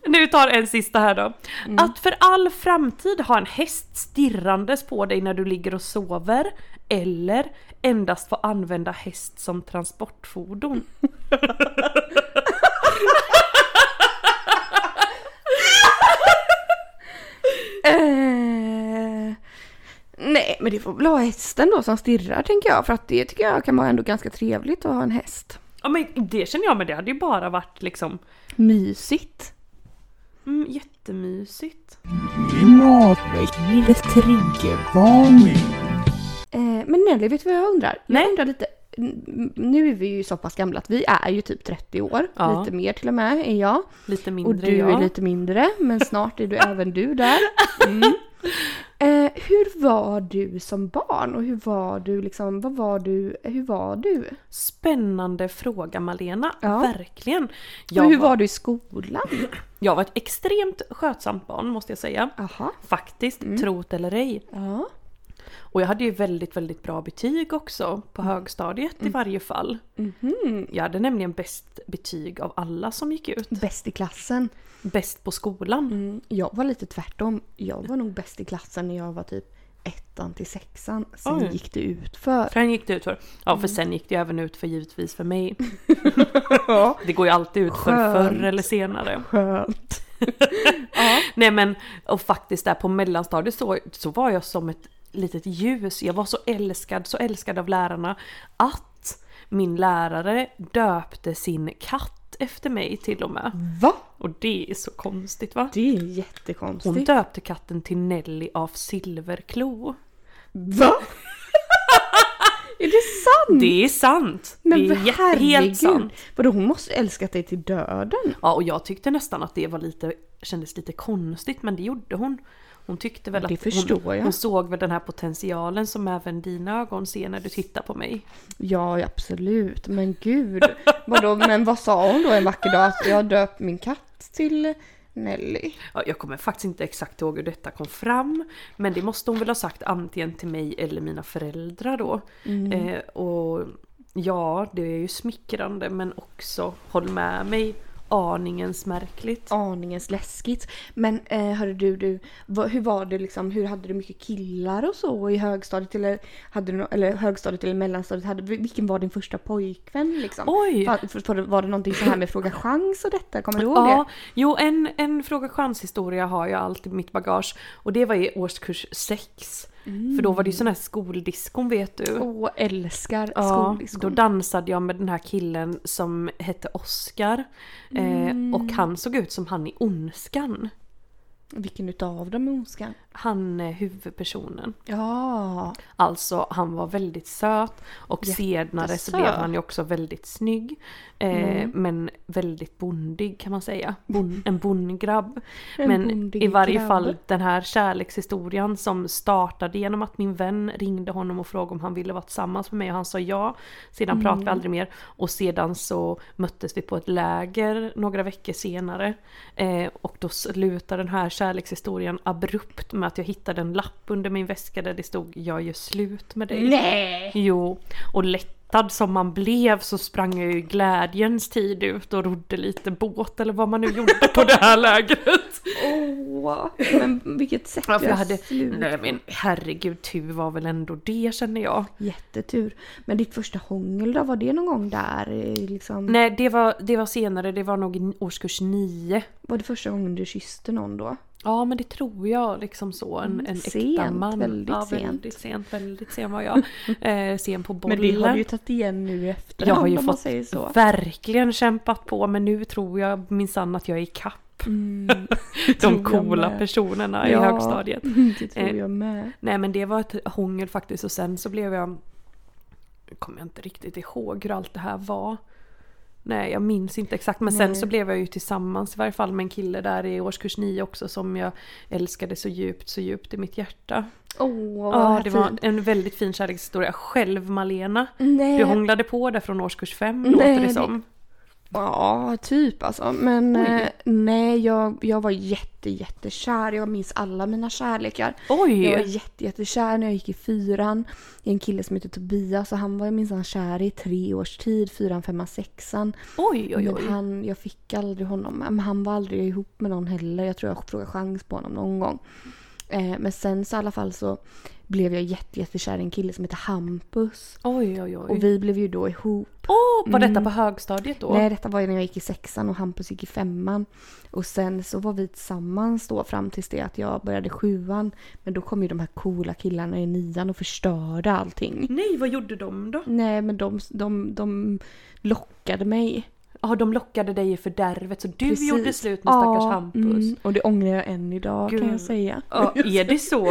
Speaker 1: Nu tar en sista här då.
Speaker 3: Mm.
Speaker 1: Att för all framtid ha en häst stirrandes på dig när du ligger och sover eller endast få använda häst som transportfordon.
Speaker 3: Eh, nej men det får väl ha hästen då som stirrar tänker jag för att det tycker jag kan vara ändå ganska trevligt att ha en häst.
Speaker 1: Ja men det känner jag men det hade ju bara varit liksom
Speaker 3: Mysigt.
Speaker 1: mm, jättemysigt.
Speaker 5: Matväggivet triggervarning.
Speaker 3: Eh, men Nelly, vet du vad jag undrar?
Speaker 1: Nej.
Speaker 3: Jag undrar lite. n- Nu är vi ju så pass gamla att vi är ju typ 30 år.
Speaker 1: Ja.
Speaker 3: Lite mer till och med är jag.
Speaker 1: Lite mindre
Speaker 3: Och du
Speaker 1: jag.
Speaker 3: är lite mindre, men snart är du även du där. Mm. Eh, hur var du som barn och hur var du liksom, vad var du, hur var du?
Speaker 1: Spännande fråga Malena,
Speaker 3: Ja.
Speaker 1: verkligen.
Speaker 3: och hur
Speaker 1: Jag var,
Speaker 3: var du i skolan?
Speaker 1: jag var ett extremt skötsamt barn måste jag säga.
Speaker 3: Aha.
Speaker 1: Faktiskt, trot eller ej.
Speaker 3: Mm. Ja.
Speaker 1: Och jag hade ju väldigt, väldigt bra betyg också på
Speaker 3: Mm.
Speaker 1: högstadiet i varje fall.
Speaker 3: Mhm.
Speaker 1: Jag hade nämligen bäst betyg av alla som gick ut.
Speaker 3: Bäst i klassen.
Speaker 1: Bäst på skolan.
Speaker 3: Mm, jag var lite tvärtom. Jag var nog bäst i klassen när jag var typ ettan till sexan. Sen
Speaker 1: Oj.
Speaker 3: gick det ut för.
Speaker 1: Sen gick det ut för. Ja,
Speaker 3: Mm.
Speaker 1: för sen gick det ju även ut för givetvis för mig. Det går ju alltid ut för
Speaker 3: Skönt.
Speaker 1: förr eller senare.
Speaker 3: Skönt.
Speaker 1: Nej men, och faktiskt där på mellanstadiet så, så var jag som ett litet ljus. Jag var så älskad, så älskad av lärarna att min lärare döpte sin katt efter mig till och med.
Speaker 3: Va?
Speaker 1: Och det är så konstigt va?
Speaker 3: Det är
Speaker 1: Hon
Speaker 3: jättekonstigt.
Speaker 1: döpte katten till Nelly av Silverklo.
Speaker 3: Mm. Va? är det sant?
Speaker 1: Det är sant!
Speaker 3: Men
Speaker 1: det är jätte- helt sant.
Speaker 3: Vadå hon måste älskat dig till döden?
Speaker 1: Ja, och jag tyckte nästan att det var lite, kändes lite konstigt men det gjorde hon. Hon tyckte väl
Speaker 3: Det
Speaker 1: att
Speaker 3: förstår
Speaker 1: hon,
Speaker 3: jag.
Speaker 1: hon såg väl den här potentialen som även dina ögon ser när du tittar på mig.
Speaker 3: Ja ja, absolut, men gud. Vadå, men vad sa hon då en vacker dag? Att jag döpt min katt till Nelly.
Speaker 1: Ja, jag kommer faktiskt inte exakt ihåg hur detta kom fram. Men det måste hon väl ha sagt antingen till mig eller mina föräldrar då.
Speaker 3: Mm.
Speaker 1: Eh, och ja, det är ju smickrande men också, håll med mig, aningens märkligt.
Speaker 3: Aningens läskigt. Men eh, hörru du, du vad, hur var det liksom, hur hade du mycket killar och så i högstadiet eller, hade du, nå- eller högstadiet eller mellanstadiet? Hade, vilken var din första pojkvän liksom?
Speaker 1: Oj!
Speaker 3: Fa- för- för- Var det någonting så här med fråga chans och detta? Kommer du ihåg det?
Speaker 1: Ja, jo en, en fråga chans-historia har jag alltid i mitt bagage. Och det var i årskurs 6. För då var det ju sån här skoldiskon vet du.
Speaker 3: Mm. Åh, älskar
Speaker 1: Ja, då
Speaker 3: skoldiskon.
Speaker 1: dansade jag med den här killen som hette Oscar.
Speaker 3: Mm.
Speaker 1: Eh, och han såg ut som han i Ondskan.
Speaker 3: Vilken utav dem är ondskan?
Speaker 1: Han är huvudpersonen.
Speaker 3: Ja.
Speaker 1: Alltså han var väldigt söt och senare så blev
Speaker 3: Jättesöt. Mm.
Speaker 1: han ju också väldigt snygg. Eh, Men väldigt bondig kan man säga. Bon, en bondgrabb.
Speaker 3: En
Speaker 1: men
Speaker 3: bondig
Speaker 1: i varje
Speaker 3: grabb.
Speaker 1: fall den här kärlekshistorien som startade genom att min vän ringde honom och frågade om han ville vara tillsammans med mig och han sa ja. Sedan pratade vi aldrig mer och sedan så möttes vi på ett läger några veckor senare. Eh, och då slutar den här kärlekshistorien abrupt med att jag hittade en lapp under min väska där det stod “Jag gör slut med dig”.
Speaker 4: Nej!
Speaker 1: Jo, och lättad som man blev så sprang jag ju i glädjens tid ut och rodde lite båt eller vad man nu gjorde på det här lägret.
Speaker 3: Åh, men vilket sätt
Speaker 1: Ja, för jag
Speaker 3: jag
Speaker 1: hade,
Speaker 3: slut.
Speaker 1: nej men herregud, tur var väl ändå det känner jag.
Speaker 3: Jättetur. Men ditt första hångel då, var det någon gång där? eh, Liksom,
Speaker 1: Nej, det var, det var senare, det var nog i årskurs nio.
Speaker 3: Var det första gången du kysste någon då?
Speaker 1: Ja men det tror jag liksom så. En, en äkta
Speaker 3: sent,
Speaker 1: man.
Speaker 3: väldigt
Speaker 1: ja, väldigt sent. Väldigt sen var jag. eh, sen på bollen.
Speaker 3: Men det har du ju tagit igen nu i efterhand
Speaker 1: jag har ju
Speaker 3: om man
Speaker 1: fått
Speaker 3: säger så.
Speaker 1: verkligen kämpat på men nu tror jag minsann att jag är i kapp. De
Speaker 3: tror jag
Speaker 1: coola
Speaker 3: med.
Speaker 1: personerna i
Speaker 3: Ja.
Speaker 1: högstadiet.
Speaker 3: Det tror
Speaker 1: Eh.
Speaker 3: jag med.
Speaker 1: Nej men det var ett hångel faktiskt och sen så blev jag... Nu kommer jag inte riktigt ihåg hur allt det här var. Nej jag minns inte exakt men sen så blev jag ju tillsammans i varje fall med en kille där i årskurs 9 också som jag älskade så djupt, så djupt i mitt hjärta.
Speaker 3: Åh,
Speaker 1: Ja
Speaker 3: vad
Speaker 1: det var
Speaker 3: fint.
Speaker 1: en väldigt fin kärlekshistoria. Själv Malena.
Speaker 3: Nej.
Speaker 1: Du hånglade på där från årskurs 5
Speaker 3: Eh. Nej,
Speaker 1: låter det
Speaker 3: det-
Speaker 1: som.
Speaker 3: Ja, typ alltså. Men eh, nej, jag, jag var jätte, jättekär. Jag minns alla mina kärlekar.
Speaker 1: Oj!
Speaker 3: Jag var jätte, jättekär när jag gick i fyran i en kille som hette Tobias och han var jag minsann kär i tre års tid, fyran, femman, sexan.
Speaker 1: Oj oj
Speaker 3: Men
Speaker 1: oj.
Speaker 3: han, jag fick aldrig honom. Men han var aldrig ihop med någon heller. Jag tror jag frågade chans på honom någon gång. Eh, men sen så i alla fall så blev jag jätte, jättekär i en kille som heter Hampus.
Speaker 1: Oj oj oj.
Speaker 3: Och vi blev ju då ihop.
Speaker 1: Åh, var detta på högstadiet då?
Speaker 3: Nej, detta var ju när jag gick i sexan och Hampus gick i femman. Och sen så var vi tillsammans då fram tills det att jag började sjuan. Men då kom ju de här coola killarna i nian och förstörde allting.
Speaker 1: Nej, vad gjorde de då?
Speaker 3: Nej, men de, de, de lockade mig.
Speaker 1: Ja, de lockade dig i fördärvet så du
Speaker 3: Precis.
Speaker 1: gjorde slut med stackars
Speaker 3: Ja,
Speaker 1: Hampus.
Speaker 3: mm, och det ångrar jag än idag kan
Speaker 1: Gud.
Speaker 3: jag säga.
Speaker 1: Ja, är det så?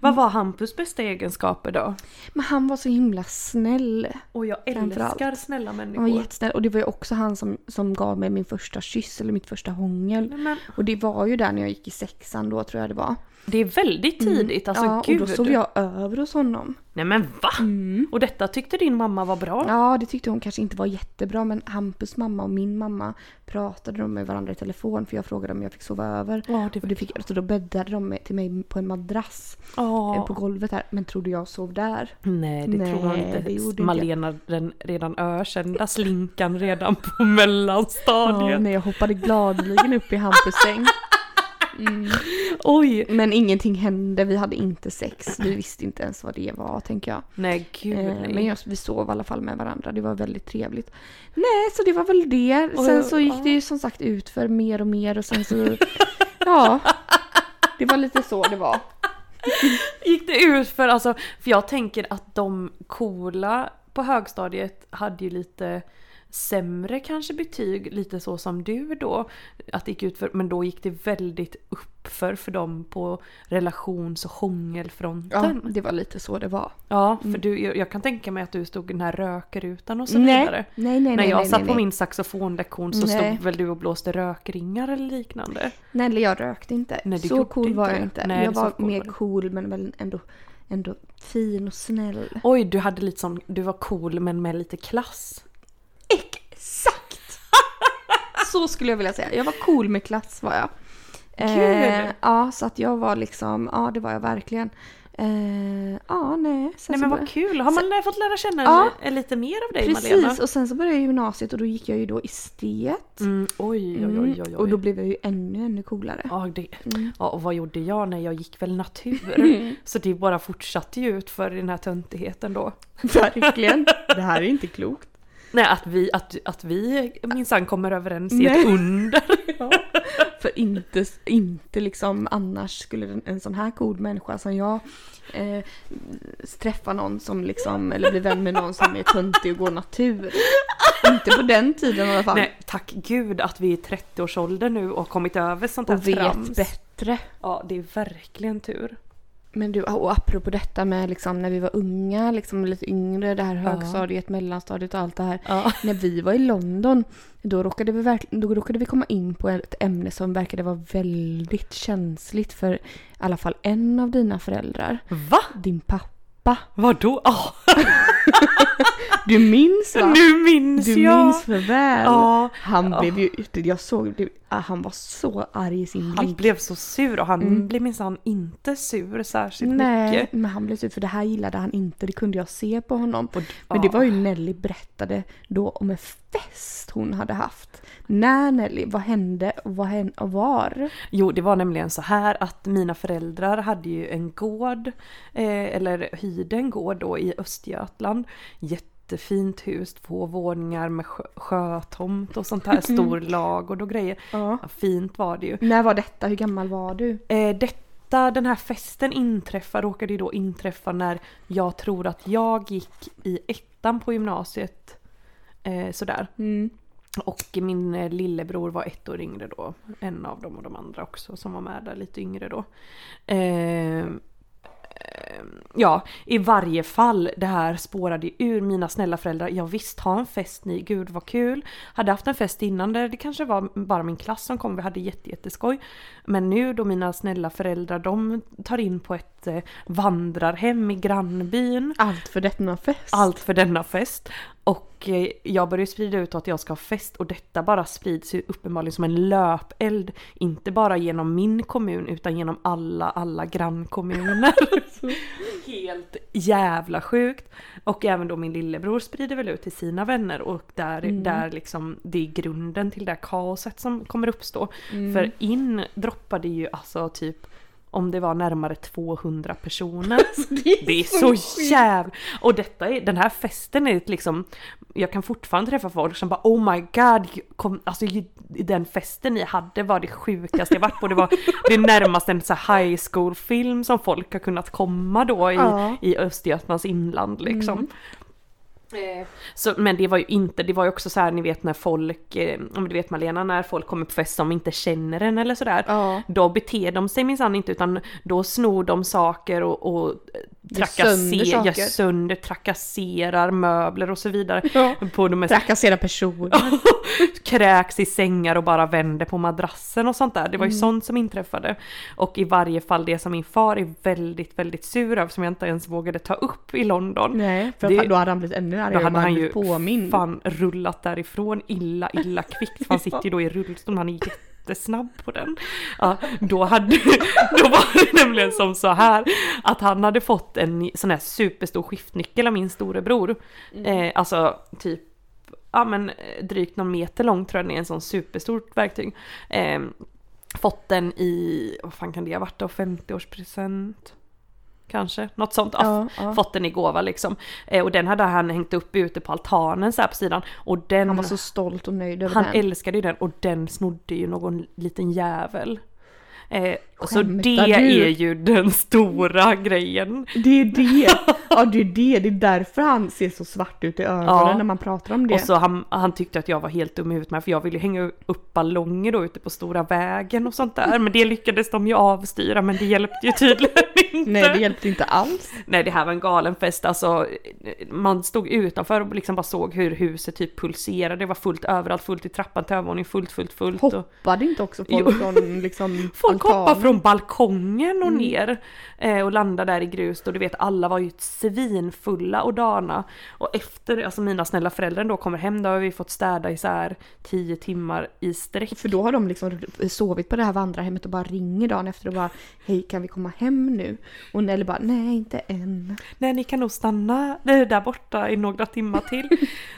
Speaker 1: Vad
Speaker 3: Mm.
Speaker 1: var Hampus bästa egenskaper då?
Speaker 3: Men han var så himla snäll.
Speaker 1: Och jag
Speaker 3: Framförallt.
Speaker 1: älskar snälla
Speaker 3: Han var
Speaker 1: människor.
Speaker 3: jättesnäll. Och det var ju också han som, som gav mig min första kyss eller mitt första hångel.
Speaker 1: Nej, men,
Speaker 3: Och det var ju där när jag gick i sexan då tror jag det var.
Speaker 1: det är väldigt tidigt, alltså
Speaker 3: Mm. ja,
Speaker 1: gud.
Speaker 3: och då sov jag över hos honom.
Speaker 1: Nej men va? Och detta tyckte din mamma var bra?
Speaker 3: Ja, det tyckte hon kanske inte var jättebra men Hampus mamma och min mamma pratade de med varandra i telefon för jag frågade om jag fick sova över.
Speaker 1: Ja, det
Speaker 3: Och
Speaker 1: var...
Speaker 3: det fick, så då bäddade de mig- till mig på en madrass eh,
Speaker 1: Ja.
Speaker 3: på golvet där. Men trodde jag sov där?
Speaker 1: Nej, det tror jag
Speaker 3: Nej, det gjorde inte
Speaker 1: inte.
Speaker 3: jag.
Speaker 1: Malena, den redan ökända slinkan redan på mellanstadiet.
Speaker 3: Ja, nej, jag hoppade gladeligen upp i Hampus säng. Mm.
Speaker 1: Oj!
Speaker 3: Men ingenting hände, vi hade inte sex. Vi visste inte ens vad det var tänker jag.
Speaker 1: Nej, gud
Speaker 3: Eh,
Speaker 1: nej.
Speaker 3: Men jag, vi sov i alla fall med varandra, det var väldigt trevligt. Nej, så det var väl det.
Speaker 1: Och
Speaker 3: sen
Speaker 1: jag-
Speaker 3: så gick det ju som sagt ut för mer och mer och sen så... ja. Det var lite så det var.
Speaker 1: gick det ut för alltså, för jag tänker att de coola på högstadiet hade ju lite sämre kanske betyg, lite så som du då. Att det gick ut för, men då gick det väldigt upp för, för dem på relations och
Speaker 3: Ja,
Speaker 1: hångelfronten. Ja,
Speaker 3: det var lite så det var.
Speaker 1: för du, jag jag kan tänka mig att du stod i den här rökrutan och så vidare.
Speaker 3: Nej, nej, nej.
Speaker 1: När
Speaker 3: nej,
Speaker 1: jag
Speaker 3: nej,
Speaker 1: satt
Speaker 3: nej,
Speaker 1: på
Speaker 3: nej.
Speaker 1: min saxofonlektion så
Speaker 3: Nej.
Speaker 1: stod väl du och blåste rökringar eller liknande.
Speaker 3: Nej, eller jag rökte inte.
Speaker 1: Nej, det
Speaker 3: så
Speaker 1: gjorde
Speaker 3: cool var
Speaker 1: inte
Speaker 3: jag
Speaker 1: det.
Speaker 3: inte.
Speaker 1: Nej,
Speaker 3: jag
Speaker 1: det
Speaker 3: var
Speaker 1: så cool
Speaker 3: mer
Speaker 1: var du.
Speaker 3: cool men väl ändå, ändå fin och snäll.
Speaker 1: Oj, du hade lite sån, du var cool men med lite klass.
Speaker 3: Exakt! så skulle jag vilja säga. Jag var cool med klass var jag. Eh,
Speaker 1: Kul.
Speaker 3: ja, så att jag var liksom, ja det var jag verkligen. Eh, ja, nej. Sen
Speaker 1: Nej
Speaker 3: så
Speaker 1: men
Speaker 3: bör-
Speaker 1: vad kul! Har man fått lära känna
Speaker 3: Ja.
Speaker 1: en- en lite mer av dig
Speaker 3: Precis,
Speaker 1: Malena?
Speaker 3: och sen så började jag gymnasiet och då gick jag ju då i estet.
Speaker 1: Mm, oj, oj,
Speaker 3: Mm,
Speaker 1: oj, oj, oj.
Speaker 3: Och då blev jag ju ännu, ännu coolare.
Speaker 1: ja, det...
Speaker 3: Mm.
Speaker 1: ja, och vad gjorde jag? när jag gick väl natur. så det bara fortsatte ju ut för den här töntigheten då.
Speaker 3: Verkligen. Det här är inte klokt.
Speaker 1: Nej, att vi, att, att vi minsann kommer överens i ett
Speaker 3: Nej.
Speaker 1: under.
Speaker 3: För inte, inte liksom annars skulle en, en sån här cool människa som jag eh, träffa någon som liksom, eller bli vän med någon som är töntig och går natur. Inte på den tiden i alla fall.
Speaker 1: Nej, tack gud att vi är i 30-årsåldern nu och har kommit över sånt här
Speaker 3: och vet
Speaker 1: trams.
Speaker 3: bättre.
Speaker 1: Ja, det är verkligen tur.
Speaker 3: Men du, och apropå detta med liksom när vi var unga, liksom lite yngre, det här högstadiet, mellanstadiet och allt det här.
Speaker 1: Ja.
Speaker 3: När vi var i London, då råkade, vi verkl- då råkade vi komma in på ett ämne som verkade vara väldigt känsligt för i alla fall en av dina föräldrar.
Speaker 1: Va?
Speaker 3: Din pappa.
Speaker 1: Vadå? Ah,
Speaker 3: Du minns va?
Speaker 1: Nu minns
Speaker 3: Du
Speaker 1: jag!
Speaker 3: minns för väl.
Speaker 1: Ja,
Speaker 3: Han
Speaker 1: Ja.
Speaker 3: blev ju, jag såg, det- ah, han var så arg i sin
Speaker 1: han
Speaker 3: blick.
Speaker 1: blev så sur och han
Speaker 3: Mm.
Speaker 1: blev minsann inte sur särskilt
Speaker 3: Nej,
Speaker 1: mycket.
Speaker 3: men han blev sur för det här gillade han inte, det kunde jag se på honom.
Speaker 1: Och, ah.
Speaker 3: Men det
Speaker 1: ja.
Speaker 3: var ju Nelly berättade då om en fest hon hade haft. När Nelly, vad hände och vad hände och var?
Speaker 1: Jo, det var nämligen så här att mina föräldrar hade ju en gård, eh, eller hyrde en gård då i Östergötland. Jättefint hus, två våningar med sjö, sjötomt och sånt här, stor lagård och grejer.
Speaker 3: Ja.
Speaker 1: Ja, fint var det ju.
Speaker 3: När var detta? Hur gammal var du?
Speaker 1: Eh, detta, den här festen inträffar, råkade ju då inträffa när jag tror att jag gick i ettan på gymnasiet. Eh, sådär. Och min eh, lillebror var ett år yngre då. En av dem och de andra också som var med där lite yngre då. Ehm, ehm, Ja, i varje fall, det här spårade ju ur mina snälla föräldrar. Ja visst, ha en fest ni, gud vad kul. Hade haft en fest innan där det kanske var bara min klass som kom, vi hade jätte, jätteskoj. Men nu då mina snälla föräldrar, de tar in på ett eh, vandrarhem i grannbyn.
Speaker 3: Allt för denna fest.
Speaker 1: Allt för denna fest. Och eh, jag börjar ju sprida ut att jag ska ha fest och detta bara sprids ju uppenbarligen som en löpeld. Inte bara genom min kommun utan genom alla, alla grannkommuner. Helt jävla sjukt. Och även då min lillebror sprider väl ut till sina vänner och där, där liksom det är grunden till det här kaoset som kommer uppstå. För in droppade ju alltså typ om det var närmare 200 personer. Det är så jävla... Och detta är, den här festen är ett liksom... Jag kan fortfarande träffa folk som bara oh my god, kom, alltså ju- den festen ni hade var det sjukaste jag varit på. Det var det är närmast en så här high school film som folk har kunnat komma då i,
Speaker 3: Ja. Mm.
Speaker 1: i Östergötlands inland liksom. Eh, Så, men det var ju inte, det var ju också så här ni vet när folk, eh, ja, men du vet Malena, när folk kommer på fest som inte känner en eller sådär.
Speaker 3: Ja.
Speaker 1: Då beter de sig minsann inte utan då snor de saker och, och eh,
Speaker 3: sönder
Speaker 1: trakasserar,
Speaker 3: saker.
Speaker 1: gör sönder, trakasserar möbler och så vidare.
Speaker 3: Ja.
Speaker 1: På de mest
Speaker 3: Trakassera personer.
Speaker 1: kräks i sängar och bara vänder på madrassen och sånt där. Det var ju
Speaker 3: Mm.
Speaker 1: sånt som inträffade. Och i varje fall det som min far är väldigt, väldigt sur över som jag inte ens vågade ta upp i London.
Speaker 3: Nej, för
Speaker 1: Det-
Speaker 3: då hade han blivit ännu
Speaker 1: Då
Speaker 3: argare om
Speaker 1: hade han
Speaker 3: han
Speaker 1: ju
Speaker 3: blivit påmind.
Speaker 1: fan rullat därifrån illa, illa kvickt. Han sitter ju då i rullstol, han är jättesnabb på den. Ja, då, hade, då var det nämligen som så här att han hade fått en sån här superstor skiftnyckel av min storebror. Eh, alltså typ ja, men, eh, drygt någon meter lång tror jag den är, en sån superstort verktyg. Eh, fått den i, vad fan kan det ha varit då, 50-årspresent? Kanske, något sånt. Ja,
Speaker 3: Ja, ja.
Speaker 1: fått den i gåva liksom. Eh, och den hade han hängt upp ute på altanen så här på sidan. Och den,
Speaker 3: Han var så stolt och nöjd över
Speaker 1: han
Speaker 3: den.
Speaker 1: älskade ju den och den snodde ju någon liten jävel. Eh, och så
Speaker 3: Skämtar
Speaker 1: det
Speaker 3: du?
Speaker 1: är ju den stora grejen.
Speaker 3: Det är det! Ja det är det, det är därför han ser så svart ut i ögonen
Speaker 1: Ja.
Speaker 3: när man pratar om det.
Speaker 1: Och så han, han tyckte att jag var helt dum i huvudet med för jag ville ju hänga upp ballonger då ute på stora vägen och sånt där. Men det lyckades de ju avstyra men det hjälpte ju tydligen inte.
Speaker 3: Nej det hjälpte inte alls.
Speaker 1: Nej det här var en galen fest, alltså man stod utanför och liksom bara såg hur huset typ pulserade, det var fullt överallt, fullt i trappan till övervåningen, fullt, fullt, fullt. Och
Speaker 3: Hoppade inte också folk
Speaker 1: Jo.
Speaker 3: från liksom Mm.
Speaker 1: folk hoppade
Speaker 3: altanen?
Speaker 1: från balkongen och ner eh, och landade där i grus och du vet alla var ju svinfulla och dana. Och efter, alltså mina snälla föräldrar då kommer hem, då har vi fått städa i så här 10 timmar i sträck.
Speaker 3: För då har de liksom sovit på det här vandrarhemmet och bara ringer dagen efter och bara Hej kan vi komma hem nu? Och Nelly bara nej inte än.
Speaker 1: Nej ni kan nog stanna eh, där borta i några timmar till.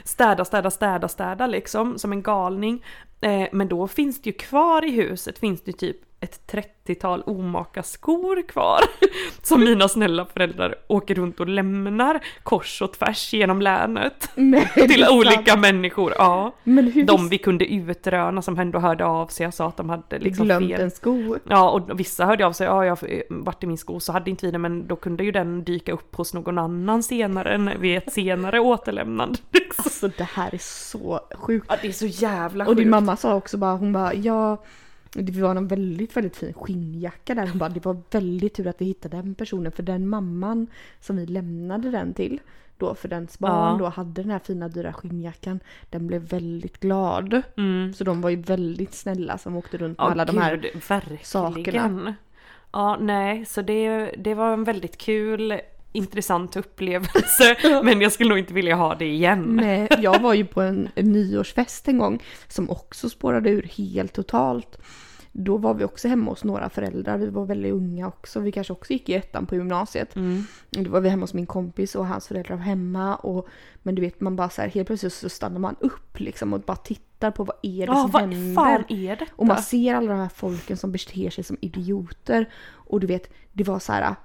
Speaker 1: Städa, städa, städa, städa liksom som en galning. Eh, Men då finns det ju kvar i huset finns det ju typ ett 30-tal omaka skor kvar. Som mina snälla föräldrar åker runt och lämnar kors och tvärs genom länet.
Speaker 3: Nej, det
Speaker 1: Till
Speaker 3: är
Speaker 1: olika
Speaker 3: sant.
Speaker 1: människor, ja.
Speaker 3: Men hur
Speaker 1: De
Speaker 3: de
Speaker 1: vi kunde utröna som ändå hörde av sig och sa att de hade liksom
Speaker 3: glömt
Speaker 1: fel.
Speaker 3: en sko?
Speaker 1: Ja, och vissa hörde av sig, ja jag har varit i min sko så hade inte vi den, men då kunde ju den dyka upp hos någon annan senare, när- vid ett senare Liksom. återlämnande.
Speaker 3: Alltså det här är så sjukt.
Speaker 1: Ja, det är så jävla
Speaker 3: Och din
Speaker 1: sjukt.
Speaker 3: mamma sa också bara, hon bara ja, det var en väldigt, väldigt fin skinnjacka där. Hon bara, det var väldigt tur att vi hittade den personen för den mamman som vi lämnade den till då för dens barn
Speaker 1: Ja.
Speaker 3: då hade den här fina dyra skinnjackan. Den blev väldigt glad.
Speaker 1: Mm.
Speaker 3: Så de var ju väldigt snälla som åkte runt med
Speaker 1: Ja,
Speaker 3: alla de här.
Speaker 1: gud, verkligen.
Speaker 3: sakerna.
Speaker 1: Ja, nej, så det, det var en väldigt kul intressant upplevelse men jag skulle nog inte vilja ha det igen.
Speaker 3: Nej, eh, jag var ju på en nyårsfest en gång som också spårade ur helt totalt. Då var vi också hemma hos några föräldrar, vi var väldigt unga också, vi kanske också gick i ettan på gymnasiet.
Speaker 1: Mm.
Speaker 3: Då var vi hemma hos min kompis och hans föräldrar var hemma. Och, men du vet man bara så här, helt plötsligt så stannar man upp liksom och bara tittar på vad är det
Speaker 1: Ja,
Speaker 3: som
Speaker 1: vad
Speaker 3: händer.
Speaker 1: fan är detta?
Speaker 3: Och man ser alla de här folken som beter sig som idioter. Och du vet, det var så här.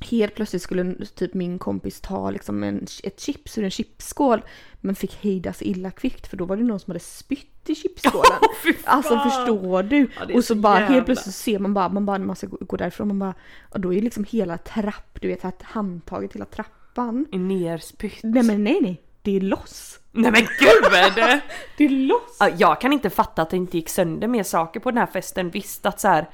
Speaker 3: Helt plötsligt skulle typ min kompis ta liksom en, ett chips ur en chipsskål men fick hejdas illa kvickt för då var det någon som hade spytt i chipsskålen. alltså förstår du?
Speaker 4: Ja, det är
Speaker 3: och så
Speaker 4: så
Speaker 3: bara
Speaker 4: jävla-
Speaker 3: helt plötsligt så ser man bara, man bara när man ska gå- gå därifrån, man bara, och då är liksom hela trapp, du vet här handtaget, hela trappan.
Speaker 1: Nerspytt.
Speaker 3: Nej men nej nej, det är loss!
Speaker 1: Nej men gud!
Speaker 3: Det är loss!
Speaker 1: Ja, Jag kan inte fatta att det inte gick sönder mer saker på den här festen. Visst att så här,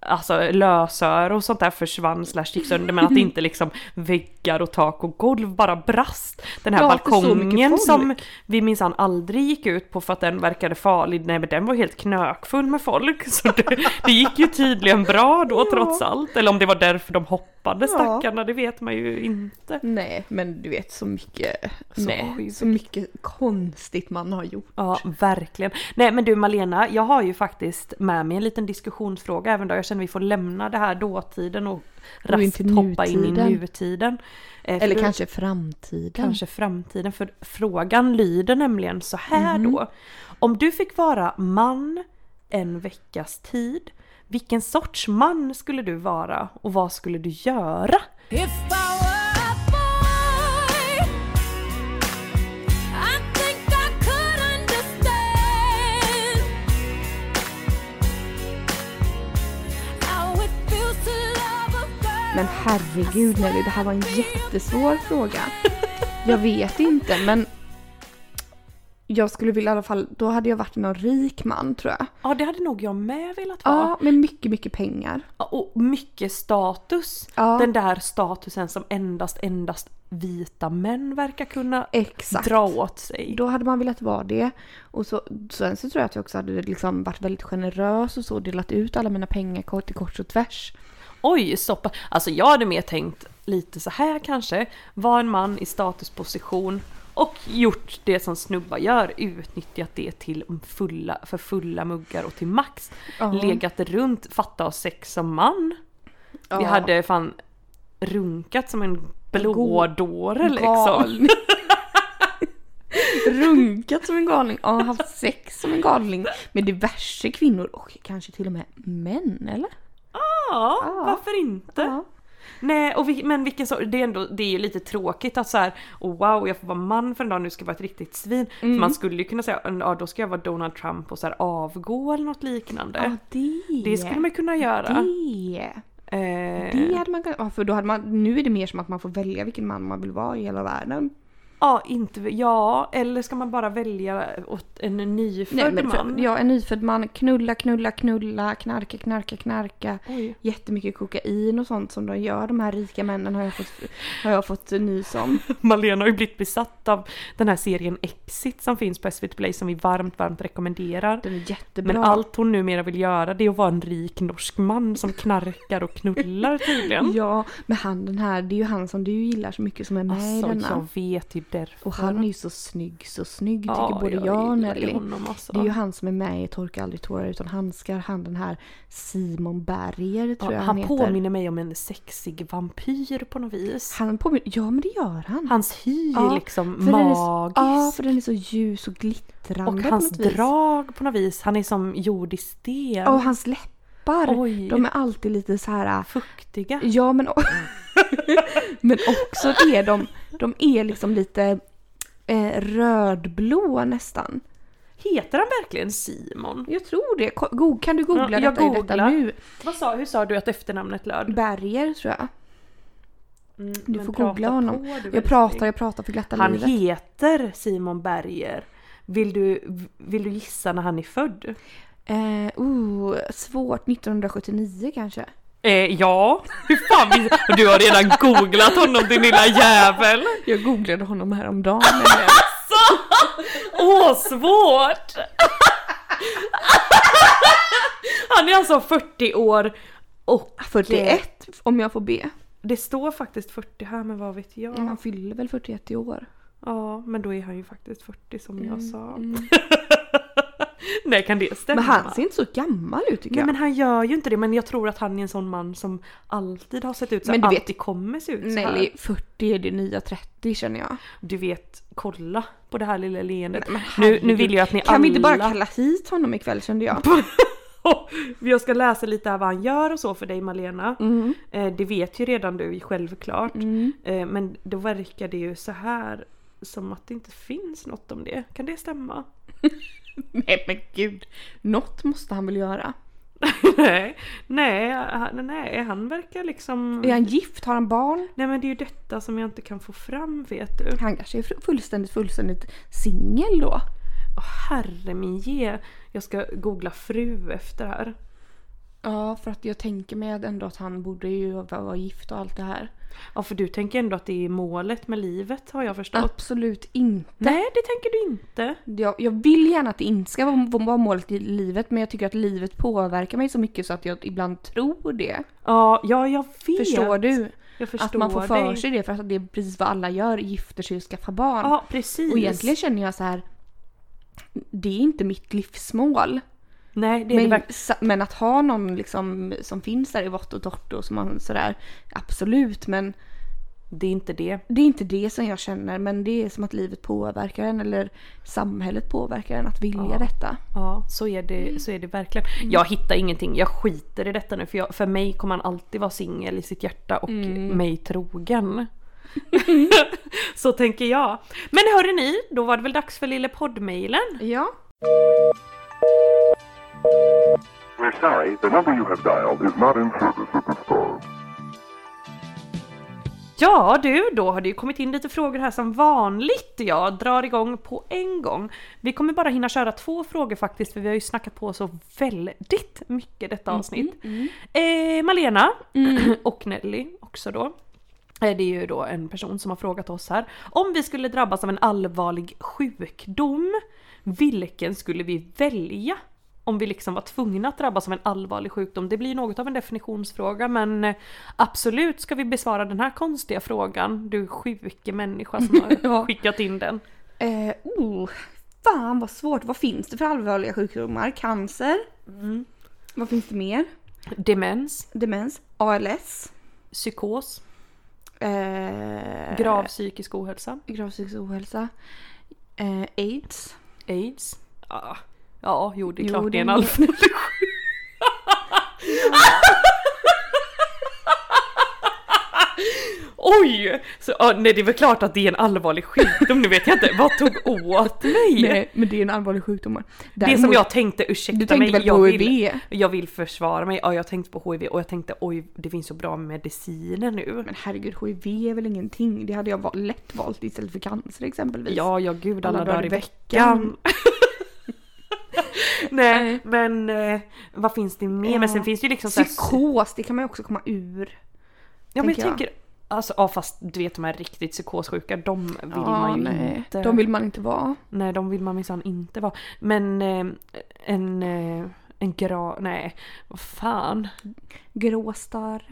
Speaker 1: alltså lösöre och sånt där försvann slash gick sönder men att inte liksom väggar och tak och golv bara brast. Den här
Speaker 3: Ja, för så mycket
Speaker 1: balkongen
Speaker 3: folk.
Speaker 1: som vi minsann aldrig gick ut på för att den verkade farlig. Nej men den var helt knökfull med folk. Så det, det gick ju tydligen bra då trots allt. Eller om det var därför de hoppade stackarna, det vet man ju inte.
Speaker 3: Nej men du vet så mycket, så,
Speaker 1: Nej, sjukt.
Speaker 3: så mycket konstigt man har gjort.
Speaker 1: Ja, verkligen. Nej men du Malena, jag har ju faktiskt med mig en liten diskussionsfråga även då. Jag känner vi får lämna det här dåtiden och
Speaker 3: Och in
Speaker 1: raskt
Speaker 3: till
Speaker 1: hoppa in i
Speaker 3: nutiden.
Speaker 1: nutiden. Eh, för
Speaker 3: Eller
Speaker 1: då-
Speaker 3: kanske framtiden.
Speaker 1: kanske framtiden. För frågan lyder nämligen så här
Speaker 3: Mhm.
Speaker 1: då. Om du fick vara man en veckas tid, vilken sorts man skulle du vara och vad skulle du göra?
Speaker 6: If I were a boy, I think I could understand. How it feels to love a girl.
Speaker 3: Men herregud Nelly, det här var en jättesvår fråga. Jag vet inte men jag skulle vilja i alla fall, då hade jag varit någon rik man tror jag.
Speaker 1: Ja det hade nog jag med velat
Speaker 3: Ja,
Speaker 1: vara.
Speaker 3: med mycket, mycket pengar.
Speaker 1: Och mycket status.
Speaker 3: Ja.
Speaker 1: Den där statusen som endast, endast vita män verkar kunna
Speaker 3: Exakt.
Speaker 1: dra åt sig.
Speaker 3: Då hade man velat vara det. Och så, sen så tror jag att jag också hade liksom varit väldigt generös och så delat ut alla mina pengar kort till kors och tvärs.
Speaker 1: Oj, soppa. Alltså jag hade mer tänkt lite så här kanske. Var en man i statusposition och gjort det som snubbar gör, utnyttjat det till fulla, för fulla muggar och till max.
Speaker 3: Ja.
Speaker 1: Legat runt, fatta och sex som man. Vi
Speaker 3: Ja.
Speaker 1: hade fan runkat som en blådåre liksom.
Speaker 3: Galning. Runkat som en galning. Ja, haft sex som en galning. Med diverse kvinnor och kanske till och med män eller?
Speaker 1: Ja,
Speaker 3: Ja.
Speaker 1: varför inte?
Speaker 3: Ja.
Speaker 1: Nej, och vi, men vilken sorts, det är, ändå, det är ju lite tråkigt att så här, oh, wow jag får vara man för en dag, nu ska jag vara ett riktigt svin.
Speaker 3: Mm.
Speaker 1: För man skulle ju kunna säga, ja då ska jag vara Donald Trump och så här avgå eller något liknande.
Speaker 3: Ja, det.
Speaker 1: det skulle man kunna göra.
Speaker 3: det.
Speaker 1: Eh,
Speaker 3: det hade man kunnat, ja, för då hade man, nu är det mer som att man får välja vilken man man vill vara i hela världen.
Speaker 1: Ja, inte, ja, eller ska man bara välja åt en nyfödd man?
Speaker 3: för, ja, en nyfödd man, knulla, knulla, knulla, knarka, knarka, knarka.
Speaker 1: Oj.
Speaker 3: Jättemycket kokain och sånt som de gör, de här rika männen har jag fått, har jag fått nys om.
Speaker 1: Malena har ju blivit besatt av den här serien Exit som finns på SVT Play som vi varmt, varmt rekommenderar.
Speaker 3: Den är jättebra.
Speaker 1: Men allt hon numera vill göra det är att vara en rik norsk man som knarkar och knullar tydligen.
Speaker 3: Ja, men han den här, det är ju han som du gillar så mycket som är med i
Speaker 1: Alltså
Speaker 3: denna.
Speaker 1: jag vet ju därför.
Speaker 3: Och han är ju så snygg, så snygg tycker
Speaker 1: Ja,
Speaker 3: både jag,
Speaker 1: gillar ju
Speaker 3: och Nelly.
Speaker 1: honom alltså.
Speaker 3: Det är ju han som är med i Torka aldrig tårar utan handskar, han den här Simon Berger tror
Speaker 1: ja,
Speaker 3: jag
Speaker 1: han
Speaker 3: han heter.
Speaker 1: påminner mig om en sexig vampyr på något vis.
Speaker 3: Han påminner, ja men det gör han.
Speaker 1: Hans hy
Speaker 3: Ja,
Speaker 1: är liksom
Speaker 3: för den är så-
Speaker 1: magisk.
Speaker 3: Ja, för den är så ljus och glittrande
Speaker 1: och
Speaker 3: på
Speaker 1: hans
Speaker 3: något vis.
Speaker 1: drag på något vis. Han är som jord i sten.
Speaker 3: Ja, Och hans läppar,
Speaker 1: Oj.
Speaker 3: de är alltid lite så här.
Speaker 1: Fuktiga.
Speaker 3: Ja men, o- men också är de, de är liksom lite eh, rödblåa nästan.
Speaker 1: Heter han verkligen Simon?
Speaker 3: Jag tror det. Ko- Go- Kan du googla
Speaker 1: Ja, jag
Speaker 3: detta, i detta
Speaker 1: googlar.
Speaker 3: nu?
Speaker 1: Vad sa, hur sa du att efternamnet löd?
Speaker 3: Berger tror jag.
Speaker 1: Mm,
Speaker 3: Du
Speaker 1: men
Speaker 3: får
Speaker 1: prata
Speaker 3: googla
Speaker 1: på,
Speaker 3: honom.
Speaker 1: du
Speaker 3: Jag
Speaker 1: älskling.
Speaker 3: pratar, jag pratar för glatta
Speaker 1: Han
Speaker 3: livet.
Speaker 1: heter Simon Berger. Vill du, vill du gissa när han är född?
Speaker 3: Eh, oh, svårt. 1979 kanske.
Speaker 1: Eh, ja, hur fan vill... Du har redan googlat honom din lilla jävel!
Speaker 3: Jag googlade honom häromdagen.
Speaker 1: Åh, svårt! Han är alltså 40 år och...
Speaker 3: 41 om jag får be. Mm,
Speaker 1: Det står faktiskt 40 här men vad vet jag.
Speaker 3: Han fyller väl 41 i år?
Speaker 1: Ja men då är han ju faktiskt 40 som jag sa.
Speaker 3: mm.
Speaker 1: Nej kan det stämma?
Speaker 3: Men han ser inte så gammal ut tycker
Speaker 1: Nej
Speaker 3: jag.
Speaker 1: men han gör ju inte det men jag tror att han är en sån man som alltid har sett ut så
Speaker 3: Men
Speaker 1: men
Speaker 3: du
Speaker 1: du
Speaker 3: vet-
Speaker 1: alltid kommer se ut så här.
Speaker 3: Nej, 40 är det nya 30 känner jag.
Speaker 1: Du vet, kolla på det här lilla leendet.
Speaker 3: Nej, men
Speaker 1: nu, nu
Speaker 3: herregud.
Speaker 1: vill jag att ni
Speaker 3: Kan
Speaker 1: alla...
Speaker 3: vi inte bara kalla hit honom ikväll kände jag?
Speaker 1: jag ska läsa lite här vad han gör och så för dig Malena.
Speaker 3: Mm.
Speaker 1: Eh, Det vet ju redan du självklart. Eh, Men då verkar det ju så här som att det inte finns något om det. Kan det stämma?
Speaker 3: Nej men gud. Något måste han väl göra?
Speaker 1: nej, nej, han, nej, han verkar liksom...
Speaker 3: Är han gift? Har han barn?
Speaker 1: Nej men det är ju detta som jag inte kan få fram vet du.
Speaker 3: Han kanske är fru- fullständigt, fullständigt singel då?
Speaker 1: Åh herre min ge. Jag ska googla fru efter här.
Speaker 3: Ja, för att jag tänker mig ändå att han borde ju vara vara gift och allt det här.
Speaker 1: Ja för du tänker ändå att det är målet med livet har jag förstått.
Speaker 3: Absolut inte.
Speaker 1: Nej det tänker du inte.
Speaker 3: Jag, jag vill gärna att det inte ska vara, vara målet i livet men jag tycker att livet påverkar mig så mycket så att jag ibland tror det.
Speaker 1: Ja, ja jag vet.
Speaker 3: Förstår du?
Speaker 1: Jag förstår
Speaker 3: att man får för
Speaker 1: dig.
Speaker 3: sig det för att det är precis vad alla gör, gifter sig och skaffar barn.
Speaker 1: Ja precis.
Speaker 3: och egentligen känner jag så här. Det är inte mitt livsmål.
Speaker 1: Nej det är det
Speaker 3: Men,
Speaker 1: verkligen.
Speaker 3: sa- men att ha någon liksom som finns där i vått och torrt och som man sådär, absolut men
Speaker 1: Det är inte det.
Speaker 3: det är inte det som jag känner men det är som att livet påverkar en eller samhället påverkar en att vilja
Speaker 1: Ja.
Speaker 3: detta.
Speaker 1: Ja så är
Speaker 3: Mm.
Speaker 1: det, så är det verkligen. Jag hittar ingenting, jag skiter i detta nu för, jag, för mig kommer han alltid vara singel i sitt hjärta och
Speaker 3: Mm.
Speaker 1: mig trogen. så tänker jag. Men hörde ni, då var det väl dags för lille poddmailen.
Speaker 3: Ja.
Speaker 7: We're sorry, the number you have dialed is not in service at this time.
Speaker 1: Ja du, då har det ju kommit in lite frågor här som vanligt. Jag drar igång på en gång. Vi kommer bara hinna köra två frågor faktiskt för vi har ju snackat på så väldigt mycket detta avsnitt. Eh, Malena och Nelly också då. Eh, Det är ju då en person som har frågat oss här. Om vi skulle drabbas av en allvarlig sjukdom, vilken skulle vi välja? Om vi liksom var tvungna att drabbas av en allvarlig sjukdom. Det blir något av en definitionsfråga men eh, absolut ska vi besvara den här konstiga frågan. Du sjuke människa som har skickat in den.
Speaker 3: Eh, oh, fan vad svårt. Vad finns det för allvarliga sjukdomar? Cancer? Mm. Vad finns det mer?
Speaker 1: Demens,
Speaker 3: Demens? ALS?
Speaker 1: psykos,
Speaker 3: Eh,
Speaker 1: grav psykisk ohälsa,
Speaker 3: grav psykisk ohälsa? Eh, AIDS?
Speaker 1: aids. Ja, ja jo det är
Speaker 3: Jo,
Speaker 1: klart det
Speaker 3: det
Speaker 1: är en
Speaker 3: är-
Speaker 1: allvarlig sjukdom. Oj! Så, ja, nej det är väl klart att det är en allvarlig sjukdom, nu vet jag inte. Vad tog åt mig?
Speaker 3: Nej men det är en allvarlig sjukdom.
Speaker 1: det som jag tänkte, ursäkta
Speaker 3: Du tänkte
Speaker 1: mig,
Speaker 3: väl på
Speaker 1: jag, vill,
Speaker 3: HIV?
Speaker 1: jag vill försvara mig. Ja, jag tänkte på HIV och jag tänkte oj, det finns så bra mediciner nu.
Speaker 3: Men herregud HIV är väl ingenting? Det hade jag va- lätt valt istället för cancer exempelvis.
Speaker 1: Ja, ja gud alla, dagar i
Speaker 3: veckan.
Speaker 1: veckan. Nej, men eh, vad finns det mer? Men sen finns det ju liksom så här-
Speaker 3: Psykos, det kan man ju också komma ur.
Speaker 1: Ja men jag
Speaker 3: tänker jag.
Speaker 1: tänker, alltså ja fast du vet de här riktigt psykossjuka, de vill man ju inte.
Speaker 3: De vill man inte vara.
Speaker 1: Nej de vill man minsann inte vara. Men eh, en, eh, en gra... Nej, vad fan.
Speaker 3: Gråstarr.